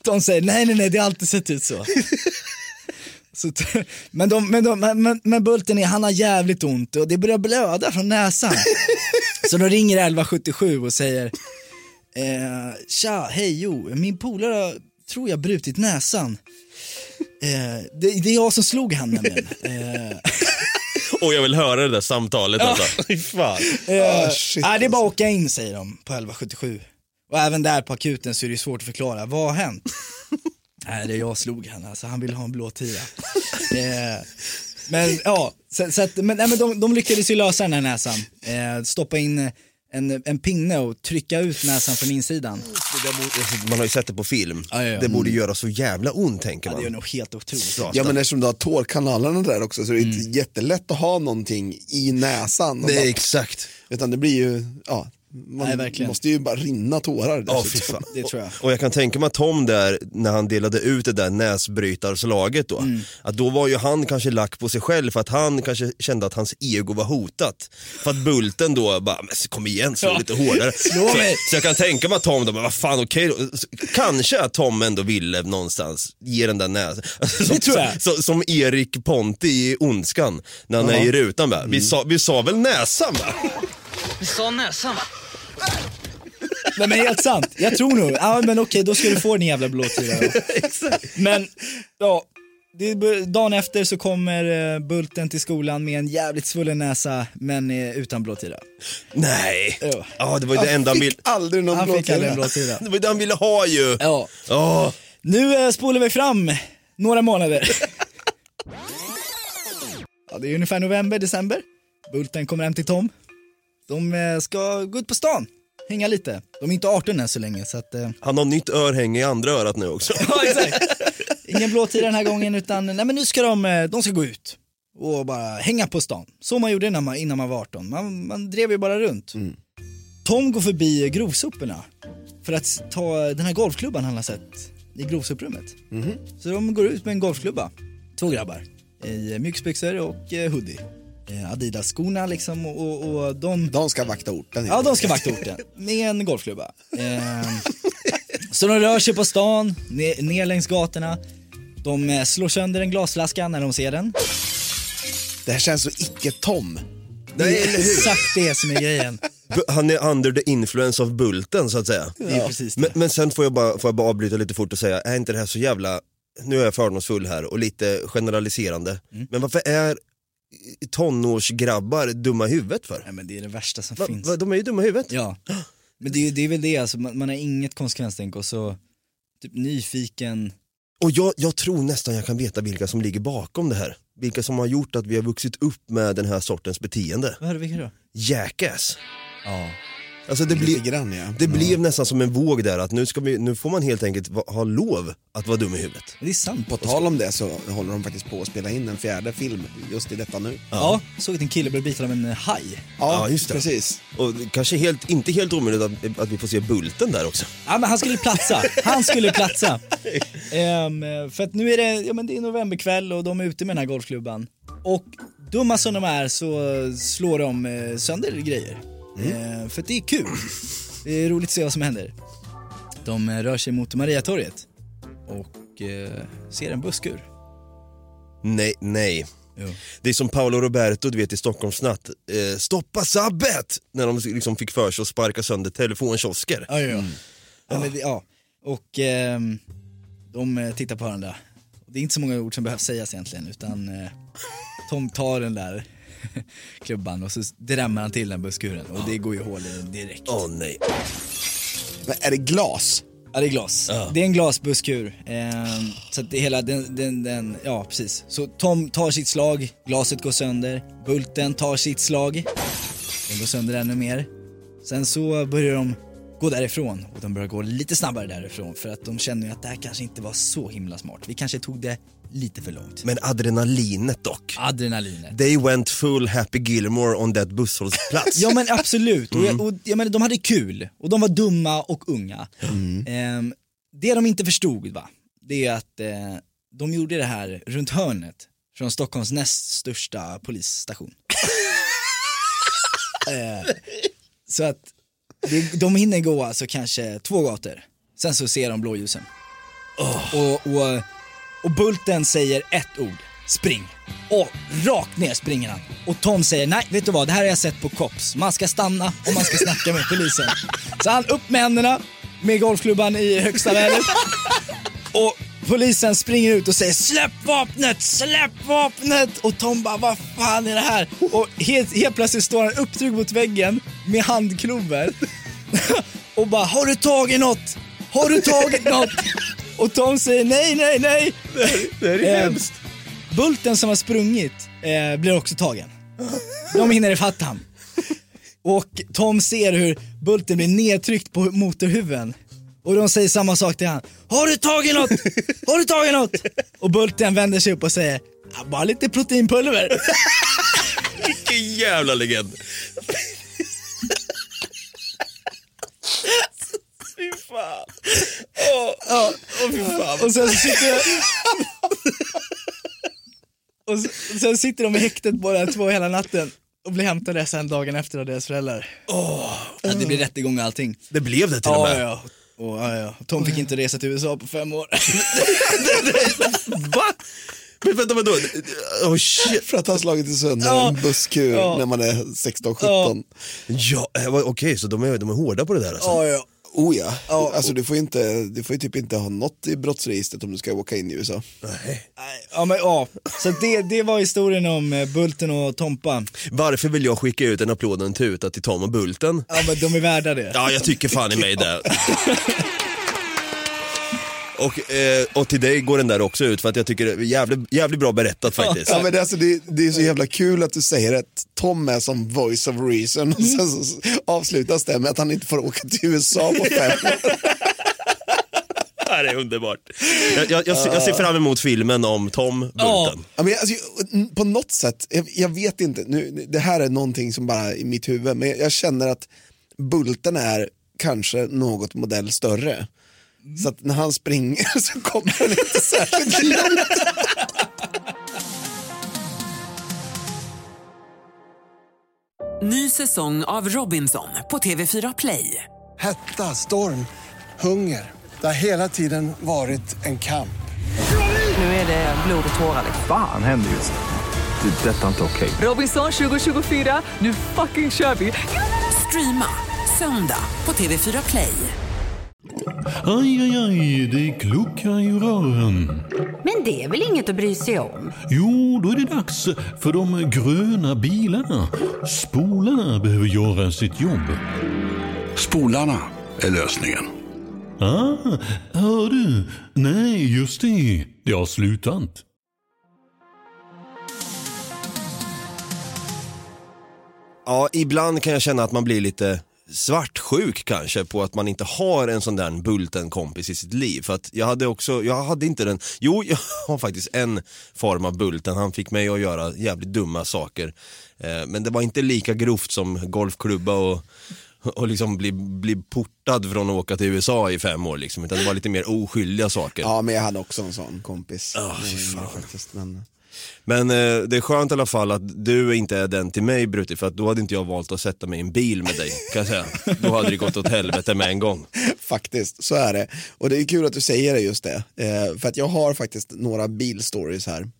Speaker 6: De säger nej, nej, nej, det har alltid sett ut så. så t- men, de, men, de, men, men, men Bulten, är, han har jävligt ont och det börjar blöda från näsan. så de ringer 1177 och säger eh, tja, hej, jo, min polare har, tror jag brutit näsan. Eh, det, det är jag som slog han nämligen. Eh,
Speaker 7: Och jag vill höra det där samtalet alltså. Fy fan.
Speaker 6: Eh,
Speaker 8: Ah, shit,
Speaker 6: nej, det är bara att åka in säger de på 1177. Och även där på akuten så är det ju svårt att förklara. Vad har hänt? nej, det är jag slog han alltså. Han ville ha en blå tia. eh, men ja, så, så att, men, nej, men de, de lyckades ju lösa den här näsan. Eh, stoppa in eh, en, en pinne och trycka ut näsan från insidan.
Speaker 7: Det där borde, alltså, man har ju sett det på film.
Speaker 6: Ja, ja, ja.
Speaker 7: Det borde göra så jävla ont tänker
Speaker 6: Ja,
Speaker 7: man.
Speaker 6: det är nog helt otroligt.
Speaker 7: Raskt.
Speaker 8: Ja men eftersom du har tårkanalerna där också så är det inte jättelätt att ha någonting i näsan. Och
Speaker 7: Det är
Speaker 8: bara,
Speaker 7: exakt.
Speaker 8: utan det blir ju, ja, man
Speaker 6: Nej, verkligen.
Speaker 8: måste ju bara rinna tårar.
Speaker 7: Ja,
Speaker 8: dessutom.
Speaker 7: fy fan.
Speaker 6: Det tror jag.
Speaker 7: Och, och jag kan tänka mig att Tom där, när han delade ut det där näsbrytarslaget då,
Speaker 6: Mm.
Speaker 7: att då var ju han kanske lack på sig själv för att han kanske kände att hans ego var hotat. För att Bulten då bara, men kom igen slå lite hårdare.
Speaker 6: Slå
Speaker 7: så,
Speaker 6: mig.
Speaker 7: så jag kan tänka mig att Tom då, men vad fan okej då. Så- Kanske att Tom ändå ville någonstans ge den där näsan. Som,
Speaker 6: tror jag.
Speaker 7: Som, som Erik Ponti i Ondskan, när han är i rutan
Speaker 6: Mm.
Speaker 7: bara, vi, sa, vi sa väl näsan va?
Speaker 12: Vi sa näsan va?
Speaker 6: Nej men helt sant, jag tror nog, ja men okej då ska du få din jävla blåtira då. Men, ja. Det, är bu- dagen efter så kommer eh, Bulten till skolan med en jävligt svullen näsa men eh, utan blåtira.
Speaker 7: Nej.
Speaker 6: Jo.
Speaker 7: Ja, det var ju det enda han ville...
Speaker 8: aldrig någon
Speaker 6: Han fick aldrig en blåtira.
Speaker 7: Det var ju det han ville ha ju.
Speaker 6: Ja.
Speaker 7: Ja.
Speaker 6: Nu eh, spolar vi fram några månader. ja, det är ungefär november, december. Bulten kommer hem till Tom. De eh, ska gå ut på stan, hänga lite. De är inte 18 än så länge så att... Eh,
Speaker 7: Han har nytt örhänge i andra örat nu också.
Speaker 6: ja, exakt. Ingen blåtira den här gången utan nej, men nu ska de, eh, de ska gå ut och bara hänga på stan. Så man gjorde innan man, innan man var 18. Man, man drev ju bara runt. Tom går förbi grovsoporna för att ta den här golfklubban han har sett i grovsoprummet. Så de går ut med en golfklubba, två grabbar, i eh, mjukisbyxor och eh, hoodie. Eh, Adidas-skorna liksom och, och, och de
Speaker 8: De ska vakta orten.
Speaker 6: Ja, de ska vakta orten med en golfklubba. Ehm, så de rör sig på stan, ner, ner längs gatorna. De eh, slår sönder en glasflaska när de ser den.
Speaker 8: Det här känns så icke-Tom.
Speaker 6: Det är exakt det som är grejen.
Speaker 7: B- Han är under the influence of Bulten så att säga.
Speaker 6: Det är precis det.
Speaker 7: Men, men sen får jag, bara, får jag bara avbryta lite fort och säga, är inte det här så jävla, nu är jag fördomsfull här och lite generaliserande,
Speaker 6: Mm.
Speaker 7: men varför är tonårsgrabbar dumma i huvudet för?
Speaker 6: Nej, men det är det värsta som
Speaker 7: Va,
Speaker 6: finns.
Speaker 7: va, de är ju dumma i huvudet.
Speaker 6: Ja, men det är, det är väl det alltså, man, man har inget konsekvenstänk och så typ nyfiken.
Speaker 7: Och jag, jag tror nästan jag kan veta vilka som ligger bakom det här. Vilka som har gjort att vi har vuxit upp med den här sortens beteende.
Speaker 6: Vad är det, vilka då?
Speaker 7: Jackass.
Speaker 6: Ja.
Speaker 7: Alltså det, ble,
Speaker 8: Lite grann ja. Mm.
Speaker 7: det blev nästan som en våg där att nu, ska vi, nu får man helt enkelt va, ha lov att vara dum i huvudet.
Speaker 6: Det är sant.
Speaker 8: På tal om det så håller de faktiskt på att spela in en fjärde film just i detta nu.
Speaker 6: Ja, såg att en kille blev biten av en eh, haj.
Speaker 7: Ja, just det.
Speaker 8: Precis.
Speaker 7: Och kanske helt, inte helt omöjligt att, att vi får se Bulten där också.
Speaker 6: Ja, men han skulle ju platsa. Han skulle ju platsa. Ehm, för att nu är det, ja, men det är novemberkväll och de är ute med den här golfklubban. Och dumma som de är så slår de eh, sönder grejer. Ehm, för att det är kul. Det är roligt att se vad som händer. De eh, rör sig mot Mariatorget och eh, ser en busskur.
Speaker 7: Nej, nej.
Speaker 6: Jo.
Speaker 7: Det är som Paolo Roberto du vet i Stockholmsnatt. Eh, stoppa sabbet! När de liksom fick för sig att sparka sönder telefonkiosker.
Speaker 6: Ja, ja, ja. ja, men, det- ja. Och ehm, de eh, tittar på varandra. Det är inte så många ord som behövs sägas egentligen utan eh, Tom tar den där klubban och så drämmer han till den busskuren och det går ju hål i den direkt.
Speaker 7: Åh nej.
Speaker 8: Men är det glas?
Speaker 6: Ja, det är glas. Det är en glasbusskur. Ehm, så att det hela den, den, den, ja precis. Så Tom tar sitt slag, glaset går sönder, Bulten tar sitt slag, den går sönder ännu mer. Sen så börjar de gå därifrån och de börjar gå lite snabbare därifrån för att de känner ju att det här kanske inte var så himla smart. Vi kanske tog det lite för långt.
Speaker 7: Men adrenalinet dock.
Speaker 6: Adrenalinet.
Speaker 7: They went full Happy Gilmore on that busshållplats.
Speaker 6: Ja men absolut, och, jag, och jag menar, de hade kul och de var dumma och unga. Ehm, det de inte förstod va, det är att eh, de gjorde det här runt hörnet från Stockholms näst största polisstation. Eh, så att det, de hinner gå alltså kanske två gator, sen så ser de blåljusen. Och, och, och Bulten säger ett ord, spring. Och rakt ner springer han. Och Tom säger, nej vet du vad, det här har jag sett på Cops. Man ska stanna och man ska snacka med polisen. Så han upp med händerna, med golfklubban i högsta vädret. Och polisen springer ut och säger släpp vapnet, släpp vapnet! Och Tom bara, vad fan är det här? Och helt, helt plötsligt står han upptryckt mot väggen med handklover. Och bara, har du tagit något? Har du tagit något? Och Tom säger nej, nej, nej.
Speaker 7: det är
Speaker 6: Eh, Bulten som har sprungit eh, blir också tagen. De hinner ifatt han. Och Tom ser hur Bulten blir nedtryckt på motorhuven. Och de säger samma sak till han. Har du tagit något? Har du tagit något? Och Bulten vänder sig upp och säger, "Ja, bara lite proteinpulver.
Speaker 7: Vilken jävla legend. Fy fan. Åh, åh, fy fan.
Speaker 6: Och sen så sitter och s- och sen sitter de i häktet båda två hela natten och blir hämtade sen dagen efter av deras föräldrar. Ja, det blir rättegång och allting.
Speaker 7: Det blev det till och
Speaker 6: Ja,
Speaker 7: med.
Speaker 6: ja. Och, ja, ja. Tom fick inte resa till USA på fem år.
Speaker 7: Va? Men vänta, vadå? Oh, shit.
Speaker 8: För att ha slagit sönder
Speaker 6: Ja.
Speaker 8: en busskur
Speaker 6: Ja.
Speaker 8: när man är 16-17.
Speaker 6: Ja.
Speaker 7: Ja, eh, vad- okej, så de är, de är hårda på det där alltså.
Speaker 6: ja, ja.
Speaker 8: Oh ja, alltså du får, inte, du får ju typ inte ha något i brottsregistret om du ska åka in i USA.
Speaker 6: Ja, men, ja. Så det, det var historien om eh, Bulten och Tompa.
Speaker 7: Varför vill jag skicka ut en applåd och en tuta till Tom och Bulten?
Speaker 6: Ja, men de är värda det.
Speaker 7: Ja, jag tycker fan i mig det. Och, eh, och till dig går den där också ut för att jag tycker det är jävligt, jävligt bra berättat faktiskt.
Speaker 8: Ja, men det, är alltså, det, det är så jävla kul att du säger att Tom är som voice of reason och sen så avslutas det med att han inte får åka till USA på fem år.
Speaker 7: Det här är underbart. Jag, jag, jag, ser- jag ser fram emot filmen om Tom Bulten.
Speaker 8: Ja, men jag, alltså, jag- på något sätt, jag, jag vet inte, nu, det här är någonting som bara är i mitt huvud, men jag, jag känner att Bulten är kanske något modell större.
Speaker 7: Mm.
Speaker 8: Så att när han springer så kommer han inte särskilt långt.
Speaker 1: Ny säsong av Robinson på TV4 Play.
Speaker 2: Hetta, storm, hunger. Det har hela tiden varit en kamp.
Speaker 1: Nu är det blod och tårar. liksom.
Speaker 3: Fan händer just det. Det är detta inte okej.
Speaker 1: Robinson 2024, nu fucking kör vi! Streama söndag på TV4 Play.
Speaker 9: Aj, aj, aj, det kluckar i rören.
Speaker 10: Men det är väl inget att bry sig om?
Speaker 9: Jo, då är det dags för de gröna bilarna. Spolarna behöver göra sitt jobb.
Speaker 11: Spolarna är lösningen.
Speaker 9: Ah, hör du? Nej, just det. Det har slutat.
Speaker 7: Ja, ibland kan jag känna att man blir lite svartsjuk kanske på att man inte har en sån där Bulten-kompis i sitt liv. För att jag hade också, jag hade inte den, jo jag har faktiskt en form av Bulten, han fick mig att göra jävligt dumma saker. Eh, men det var inte lika grovt som golfklubba och, och liksom bli, bli portad från att åka till USA i fem år liksom, utan det var lite mer oskyldiga saker.
Speaker 8: Ja, men jag hade också en sån kompis.
Speaker 7: Ja, fy fan.
Speaker 8: Faktiskt, men...
Speaker 7: Men eh, det är skönt i alla fall att du inte är den till mig Brutti, för att då hade inte jag valt att sätta mig i en bil med dig, kan jag säga. Då hade det gått åt helvete med en gång.
Speaker 8: Faktiskt, så är det. Och det är kul att du säger det just det. Eh, för att jag har faktiskt några bilstories här.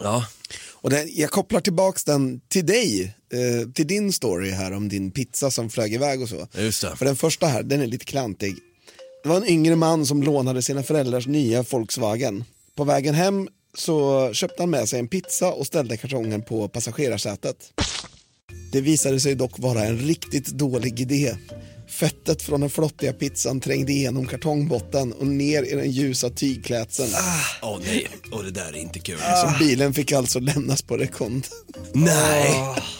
Speaker 7: Ja.
Speaker 8: Och den, jag kopplar tillbaks den till dig, eh, till din story här om din pizza som flög iväg och så.
Speaker 7: Just det.
Speaker 8: För den första här, den är lite klantig. Det var en yngre man som lånade sina föräldrars nya Volkswagen. På vägen hem så köpte han med sig en pizza och ställde kartongen på passagerarsätet. Det visade sig dock vara en riktigt dålig idé. Fettet från den flottiga pizzan trängde igenom kartongbotten och ner i den ljusa tygklädseln.
Speaker 7: Åh nej, och det där är inte kul.
Speaker 8: Så bilen fick alltså lämnas på rekond.
Speaker 7: Nej,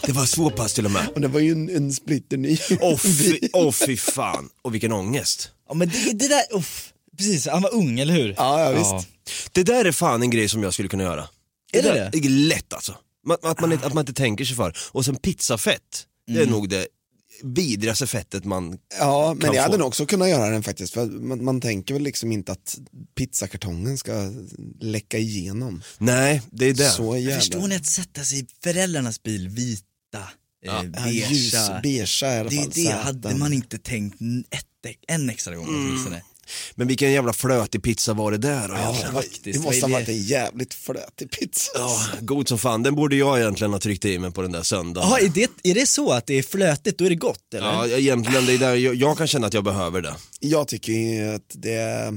Speaker 7: det var så pass till och med.
Speaker 8: Och det var ju en, en splitterny
Speaker 7: Åh fy, åh, fy fan, och vilken ångest.
Speaker 6: Ja, men det, det där, uff. precis, han var ung, eller hur?
Speaker 8: Ja, ja, visst.
Speaker 7: Det där är fan en grej som jag skulle kunna göra.
Speaker 6: Är det
Speaker 7: där är lätt alltså. Man- Att man, inte- att man inte tänker sig för. Och sen pizzafett, det
Speaker 6: Mm.
Speaker 7: är nog det vidrigaste fettet man
Speaker 8: Ja, men
Speaker 7: Kan
Speaker 8: jag hade
Speaker 7: få.
Speaker 8: nog också kunnat göra den faktiskt. För man, man tänker väl liksom inte att pizzakartongen ska läcka igenom.
Speaker 7: Nej, det är det.
Speaker 8: Så
Speaker 6: Förstår
Speaker 8: jävla...
Speaker 6: ni att sätta sig i föräldrarnas bil, vita, eh, ja.
Speaker 8: Ja, ljus, beiga i alla
Speaker 6: Det är
Speaker 8: fall.
Speaker 6: ju det, hade
Speaker 7: eh,
Speaker 8: säten.
Speaker 6: man inte tänkt n- ett, en extra
Speaker 7: Mm.
Speaker 6: gång åtminstone.
Speaker 7: Men vilken jävla flötig pizza var det där då
Speaker 8: Ja,
Speaker 7: egentligen?
Speaker 8: det, var,
Speaker 6: faktiskt.
Speaker 8: det
Speaker 6: Vad är
Speaker 8: måste ha
Speaker 6: det?
Speaker 8: varit en jävligt flötig pizza.
Speaker 7: Ja, god som fan. Den borde jag egentligen ha tryckt i mig på den där söndagen.
Speaker 6: Jaha, är det, är det så att det är flötigt, då är det gott eller?
Speaker 7: Ja, egentligen. Det är där jag, jag kan känna att jag behöver det.
Speaker 8: Jag tycker ju att det,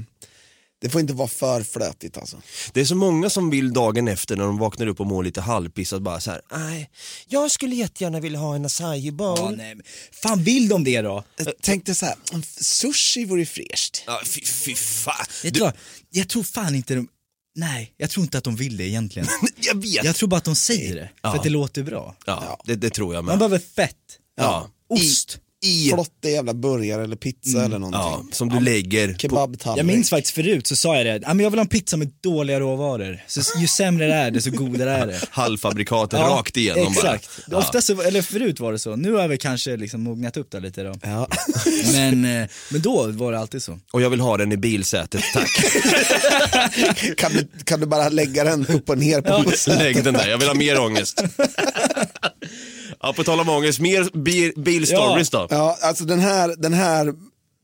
Speaker 8: det får inte vara för flötigt alltså.
Speaker 7: Det är så många som vill dagen efter när de vaknar upp och mår lite halvpissat bara så här. nej, jag skulle jättegärna vilja ha en acai bowl.
Speaker 6: Ja, nej, men- fan vill de det då?
Speaker 8: Jag tänkte så här, sushi vore fräscht.
Speaker 7: Ja, fy, fy fan.
Speaker 6: Vet du...
Speaker 7: Du,
Speaker 6: vad? Jag tror fan inte de, nej, jag tror inte att de vill det egentligen.
Speaker 7: jag vet.
Speaker 6: jag tror bara att de säger det, för att det låter bra.
Speaker 7: Ja, det, det tror jag
Speaker 6: Man
Speaker 7: med.
Speaker 6: behöver fett,
Speaker 7: Ja.
Speaker 6: ost.
Speaker 7: I,
Speaker 8: Flottig jävla burgare eller pizza eller
Speaker 7: ja,
Speaker 8: någonting.
Speaker 7: som du lägger på...
Speaker 8: Kebabtallrik.
Speaker 6: Mm. Jag minns faktiskt förut så sa jag det, "Ja, men jag vill ha en pizza med dåliga råvaror. Så ju sämre det är det, så godare är det.
Speaker 7: halvfabrikatet rakt igenom
Speaker 6: exakt.
Speaker 7: bara. Ja.
Speaker 6: Ofta så, eller förut var det så, nu har vi kanske liksom mognat upp där lite då. Men, eh, men då var det alltid så.
Speaker 7: Och jag vill ha den i bilsätet, tack.
Speaker 8: Kan du, kan du bara lägga den upp och ner på bussen?
Speaker 7: Lägg den där, jag vill ha mer ångest. ja, på tal om ångest, mer bi- bilstories då.
Speaker 8: Ja, alltså den här, den här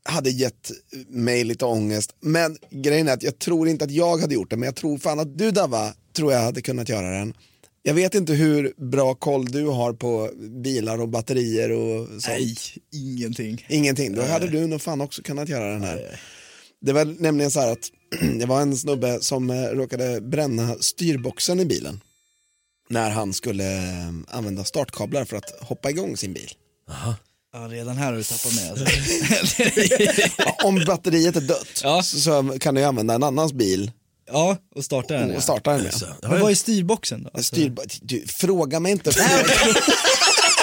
Speaker 8: hade gett mig lite ångest. Men grejen är att jag tror inte att jag hade gjort det, men jag tror fan att du Dava, tror jag hade kunnat göra den. Jag vet inte hur bra koll du har på bilar och batterier och sånt.
Speaker 6: Nej, ingenting.
Speaker 8: Ingenting, då hade du nog fan också kunnat göra den här. Det var nämligen så här att det var en snubbe som eh, råkade bränna styrboxen i bilen när han skulle eh, använda startkablar för att hoppa igång sin bil.
Speaker 6: Ja, redan här har du tappat mig alltså.
Speaker 8: Ja, Om batteriet är dött så, så kan du ju använda en annans bil
Speaker 6: Ja, och starta den. ja. Alltså.
Speaker 8: och starta den med.
Speaker 6: Men vad är styrboxen då? Alltså,
Speaker 8: Styr, du, fråga mig inte.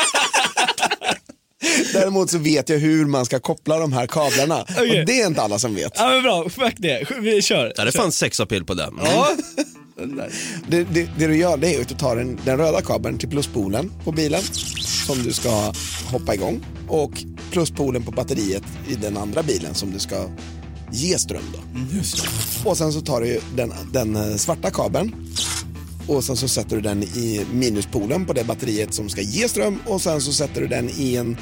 Speaker 8: Däremot så vet jag hur man ska koppla de här kablarna
Speaker 6: Okej.
Speaker 8: och det är inte alla som vet.
Speaker 6: Ja men bra, fuck det. Vi kör.
Speaker 7: Ja, det fanns sexapil på den.
Speaker 6: Ja,
Speaker 8: Det, det, det du gör det är att du tar den, den röda kabeln till pluspolen på bilen som du ska hoppa igång och pluspolen på batteriet i den andra bilen som du ska ge ström då. Och sen så tar du den, den eh, svarta kabeln och sen så sätter du den i minuspolen på det batteriet som ska ge ström och sen så sätter du den i en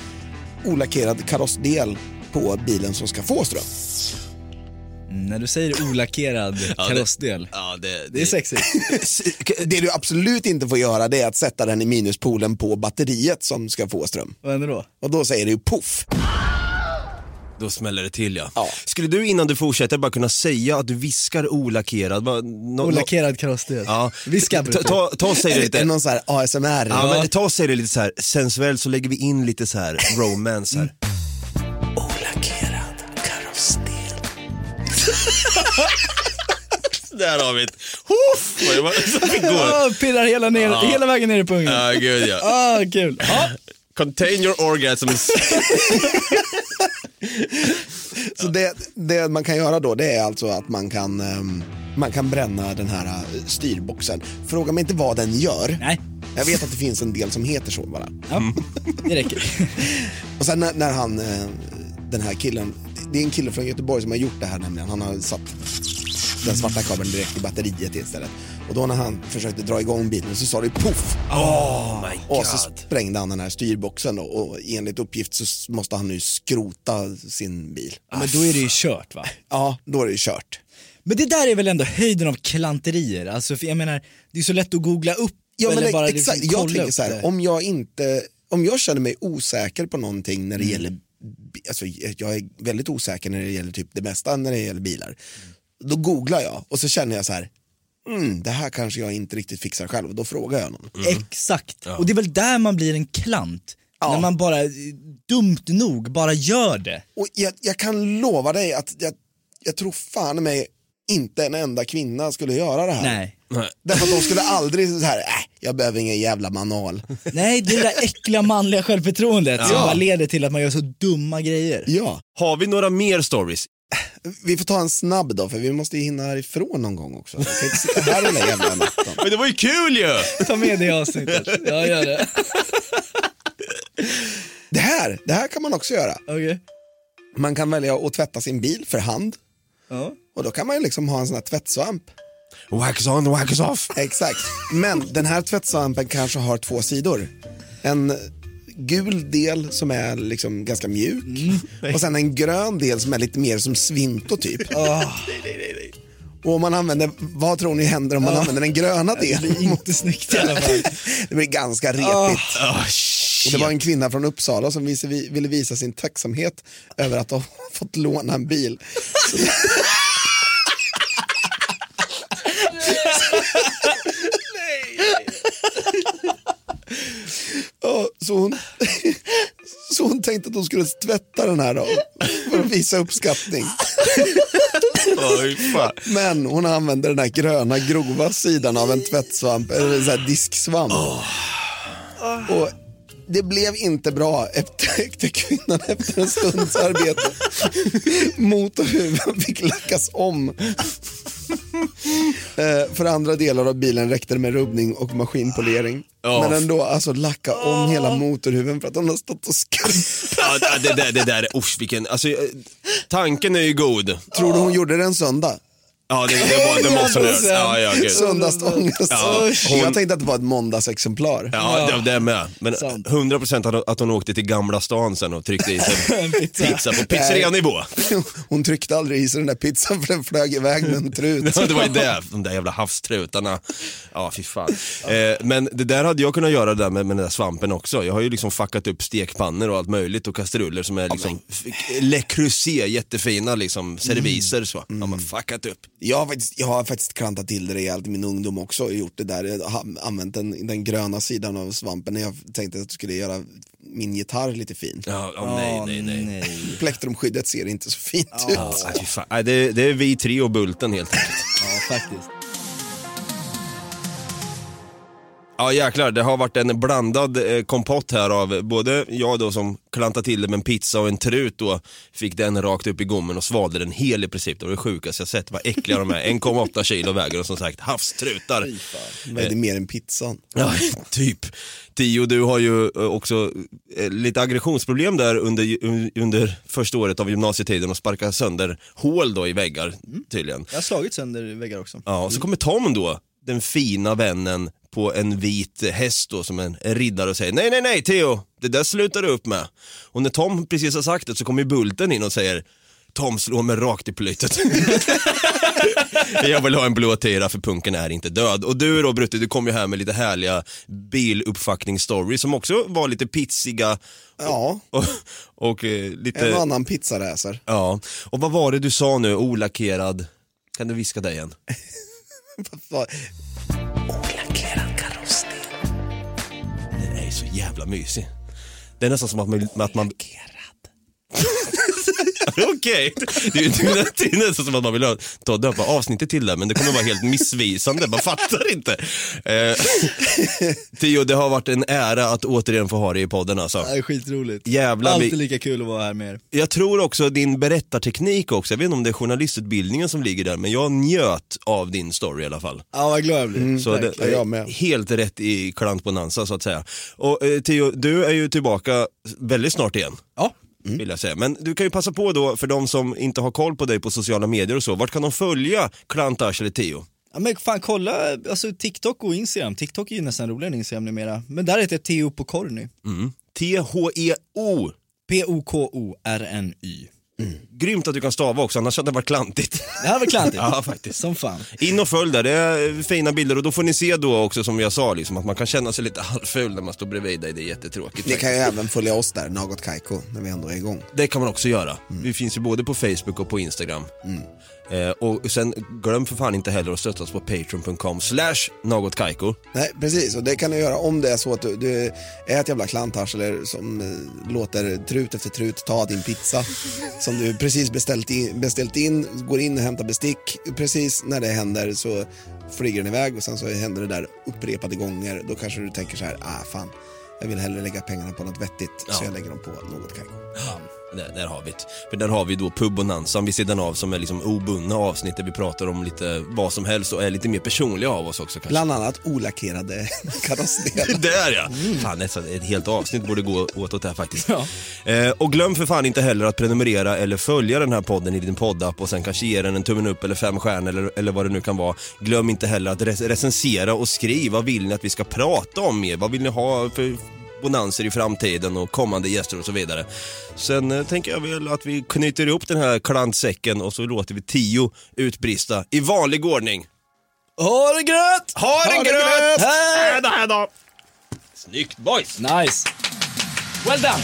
Speaker 8: olackerad karossdel på bilen som ska få ström.
Speaker 6: Mm, När du säger olackerad karossdel.
Speaker 7: Ja, det,
Speaker 6: Det är sexigt.
Speaker 8: Det du absolut inte får göra det är att sätta den i minuspolen på batteriet som ska få ström.
Speaker 6: Vad händer då?
Speaker 8: Och då säger det ju poff.
Speaker 7: Då smäller det till ja.
Speaker 8: Ja.
Speaker 7: Skulle du innan du fortsätter bara kunna säga att du viskar olackerad? Bara, nå-
Speaker 6: Olackerad karossdel.
Speaker 7: nå- Ja.
Speaker 6: Vi ska
Speaker 7: ta, ta, ta och säg det
Speaker 8: Är det
Speaker 7: lite.
Speaker 8: någon sån här ASMR?
Speaker 7: Ja, men ta och säg det lite så här sensuellt så lägger vi in lite så här romance här.
Speaker 8: Olackerad karossdel.
Speaker 7: Där har vi ett hoff! Vad det var som fick gå.
Speaker 6: Ah, pirrar hela, ner, hela vägen ner i pungen.
Speaker 7: Ja, gud ja.
Speaker 6: Ah, kul. Ja,
Speaker 7: Contain your orgasms.
Speaker 8: Så det, det man kan göra då det är alltså att man kan, ehm, man kan bränna den här eh, styrboxen. Fråga mig inte vad den gör.
Speaker 6: Nej.
Speaker 8: Jag vet att det finns en del som heter så bara.
Speaker 6: ja. det räcker.
Speaker 8: Och sen när, när han, eh, den här killen, det är en kille från Göteborg som har gjort det här nämligen. Han har satt den svarta kabeln direkt i batteriet istället. Och då när han försökte dra igång bilen så sa det poff.
Speaker 7: Oh my
Speaker 8: Och så sprängde han den här styrboxen då, och enligt uppgift så s- måste han nu skrota sin bil.
Speaker 6: Men då är det ju kört va?
Speaker 8: Ja, då är det ju kört.
Speaker 6: Men det där är väl ändå höjden av klanterier. Alltså, för jag menar, det är så lätt att googla upp.
Speaker 8: Ja, men
Speaker 6: eller bara
Speaker 8: exakt.
Speaker 6: liksom
Speaker 8: jag
Speaker 6: kolla
Speaker 8: tänker
Speaker 6: upp
Speaker 8: så här,
Speaker 6: det.
Speaker 8: om jag, inte, om jag känner mig osäker på någonting när det
Speaker 6: Mm.
Speaker 8: gäller, bi- alltså jag är väldigt osäker när det gäller typ det mesta när det gäller bilar. Då googlar jag och så känner jag så här, mm, det här kanske jag inte riktigt fixar själv, då frågar jag
Speaker 6: Mm.
Speaker 8: någon.
Speaker 6: Exakt. Och det är väl där man blir en klant. När man bara, eh, dumt nog, bara gör det.
Speaker 8: Och jag, jag kan lova dig att jag, jag tror fan mig inte en enda kvinna skulle göra det här.
Speaker 6: Nej.
Speaker 8: Därför att de skulle aldrig så här, äh, jag behöver ingen jävla manual.
Speaker 6: Nej, det är det där äckliga manliga självförtroendet som bara leder till att man gör så dumma grejer.
Speaker 8: Ja,
Speaker 7: Har vi några mer stories?
Speaker 8: vi får ta en snabb då för vi måste ju hinna härifrån någon gång också. Vi kan inte sitta här hela jävla natten.
Speaker 7: Men det var ju kul ju!
Speaker 6: Ta med det i avsnittet. Ja, gör det.
Speaker 8: Det här, det här kan man också göra.
Speaker 6: Okej.
Speaker 8: Man kan välja att tvätta sin bil för hand
Speaker 6: Ja.
Speaker 8: och då kan man ju liksom ha en sån här tvättsvamp.
Speaker 7: Wax on, wax off.
Speaker 8: Exakt. Men den här tvättsvampen kanske har två sidor. En gul del som är liksom ganska mjuk
Speaker 6: Mm.
Speaker 8: och sen en grön del som är lite mer som svinto typ.
Speaker 6: Ah.
Speaker 8: Och om man använder, vad tror ni händer om man använder den gröna delen?
Speaker 6: Ah. Inte snyggt i alla fall. Ah.
Speaker 8: Det blir ganska repigt.
Speaker 7: Oh,
Speaker 8: Och det var en kvinna från Uppsala som vis- ville visa sin tacksamhet över att ha fått låna en bil. Ja, så, hon, så hon tänkte att hon skulle tvätta den här då, för att visa uppskattning.
Speaker 7: fan.
Speaker 8: Men hon använde den här gröna grova sidan av en tvättsvamp, eller en sån här disksvamp. Och det blev inte bra, upptäckte kvinnan efter en stunds arbete. Mot och huvud fick lackas om. Eh, För andra delar av bilen räckte det med rubbning och maskinpolering.
Speaker 7: Ja.
Speaker 8: Men ändå, alltså lacka om hela motorhuven för att hon har stått och skrubbat.
Speaker 7: Ja, det där, det där, usch vilken, alltså eh, tanken är ju god.
Speaker 8: Tror du hon gjorde det en söndag?
Speaker 7: Ja, det, det, var, det måste nu. Ja, ja, gud.
Speaker 8: Söndagsångest.
Speaker 7: Ja,
Speaker 8: Jag
Speaker 7: hon,
Speaker 8: tänkte att det var ett måndagsexemplar.
Speaker 7: ja, det- det är med. Men 100% att- att hon åkte till Gamla stan sen och tryckte i sig en pizza på pizzerianivå.
Speaker 8: Hon tryckte aldrig i sig den där pizzan för den flög iväg med en trut.
Speaker 7: Ja, det var ju det, de där jävla havstrutarna. Ja, fy fan. Eh, men det där hade jag kunnat göra det där med, med den där svampen också. Jag har ju liksom fuckat upp stekpannor och allt möjligt och kastruller som är liksom f- Le Creuset, jättefina liksom serviser så. Ja, men fuckat upp.
Speaker 8: Jag har, faktiskt, jag har faktiskt klantat till det rejält i min ungdom också och gjort det där. Jag har använt den, den gröna sidan av svampen när jag tänkte att jag skulle göra min gitarr lite fin.
Speaker 7: Ja, ja, nej, nej, nej.
Speaker 8: Plektrumskyddet ser inte så fint
Speaker 7: Ja,
Speaker 8: ut.
Speaker 7: fy fan. Nej, det, det är vi tre och Bulten helt enkelt.
Speaker 6: Ja, faktiskt.
Speaker 7: Ja jäklar, det har varit en blandad eh, kompott här av både jag då som klantade till det med en pizza och en trut då, fick den rakt upp i gommen och svalde den hel i princip. Det var det sjukaste jag sett, vad äckliga de är. 1,8 kilo väger och som sagt havstrutar.
Speaker 8: Vad är det mer än pizzan?
Speaker 7: Ja, typ. Tio, du har ju eh, också eh, lite aggressionsproblem där under, ju- under första året av gymnasietiden och sparkar sönder hål då i väggar tydligen.
Speaker 6: Jag har slagit sönder väggar också.
Speaker 7: Ja, och så kommer Tom då, den fina vännen på en vit häst då som en en riddare och säger nej, nej, nej Theo, det där slutar du upp med. Och när Tom precis har sagt det så kommer ju Bulten in och säger Tom slår mig rakt i plytet. Jag vill ha en blå tira för punken är inte död. Och du då Brutti, du kom ju här med lite härliga biluppfackningsstories som också var lite pitsiga
Speaker 8: Ja,
Speaker 7: och, och eh, lite...
Speaker 8: en och annan pizzaräser.
Speaker 7: Ja, och vad var det du sa nu, olackerad? Kan du viska det igen?
Speaker 1: Olackerad karossdel.
Speaker 7: Den är ju så jävla mysig. Det är nästan som att man... Att man... Okej, det, är- det, är- det är nästan som att man vill ta och döpa avsnittet till det, men det kommer vara helt missvisande, man fattar inte. Eh, Theo, det har varit en ära att återigen få ha dig i podden alltså.
Speaker 6: Det är skitroligt.
Speaker 7: Jävlar,
Speaker 6: Alltid
Speaker 7: vi,
Speaker 6: lika kul att vara här med er.
Speaker 7: jag tror också din berättarteknik också, jag vet inte om det är journalistutbildningen som ligger där, men jag njöt av din story i alla fall.
Speaker 6: Ja, vad glad jag blir.
Speaker 7: Så det
Speaker 8: verkligen. Mm. Jag med.
Speaker 7: är helt rätt i klantbonanza så att säga. Och eh, Theo, du är ju tillbaka väldigt snart igen.
Speaker 6: Ja.
Speaker 8: Mm.
Speaker 7: Vill jag säga. Men du kan ju passa på då för de som inte har koll på dig på sociala medier och så, vart kan de följa Klantash eller Theo?
Speaker 6: Ja men fan kolla, alltså TikTok och Instagram. TikTok är ju nästan roligare än Instagram numera. Men där heter jag Theo Pokorny.
Speaker 7: E T-H-E-O.
Speaker 6: P-O-K-O-R-N-Y.
Speaker 7: Grymt att du kan stava också, annars hade det varit klantigt.
Speaker 6: Det här var klantigt.
Speaker 7: Ja, faktiskt.
Speaker 6: Som fan.
Speaker 7: In och följ där, det är fina bilder och då får ni se då också som jag sa, liksom, att man kan känna sig lite halvful när man står bredvid dig, det är jättetråkigt.
Speaker 8: Ni kan ju även följa oss där, Något Kaiko, när vi ändå är igång.
Speaker 7: Det kan man också göra. Vi finns ju både på Facebook och på Instagram. Eh, och sen glöm för fan inte heller att stötta oss på patreon.com slash någotkaiko.
Speaker 8: Nej, precis. Och det kan du göra om det är så att du, du är ett jävla klantarsler som eh, låter trut efter trut ta din pizza som du precis beställt in, beställt in, går in och hämtar bestick. Precis när det händer så flyger den iväg och sen så händer det där upprepade gånger. Då kanske du tänker så här, ah fan, jag vill hellre lägga pengarna på något vettigt så
Speaker 7: Ja.
Speaker 8: jag lägger dem på något kajko.
Speaker 7: Där, där har vi det. För där har vi då Pubonanzan vid sidan av som är liksom obundna avsnitt där vi pratar om lite vad som helst och är lite mer personliga av oss också kanske.
Speaker 8: Bland annat olackerade karossdelar.
Speaker 7: Där ja! Fan, nästan ett helt avsnitt borde gå åt åt det här faktiskt. Eh, och glöm för fan inte heller att prenumerera eller följa den här podden i din poddapp och sen kanske ge den en tummen upp eller fem stjärnor eller, eller vad det nu kan vara. Glöm inte heller att rec- recensera och skriva. Vad vill ni att vi ska prata om mer? Vad vill ni ha för bonanser i framtiden och kommande gäster och så vidare. Sen eh, tänker jag väl att vi knyter ihop den här klantsäcken och så låter vi tio utbrista i vanlig ordning.
Speaker 6: Ha det gröt!
Speaker 7: Ha det gröt!
Speaker 6: Hej!
Speaker 7: Hej då, hej då! Snyggt boys!
Speaker 6: Nice! Well done!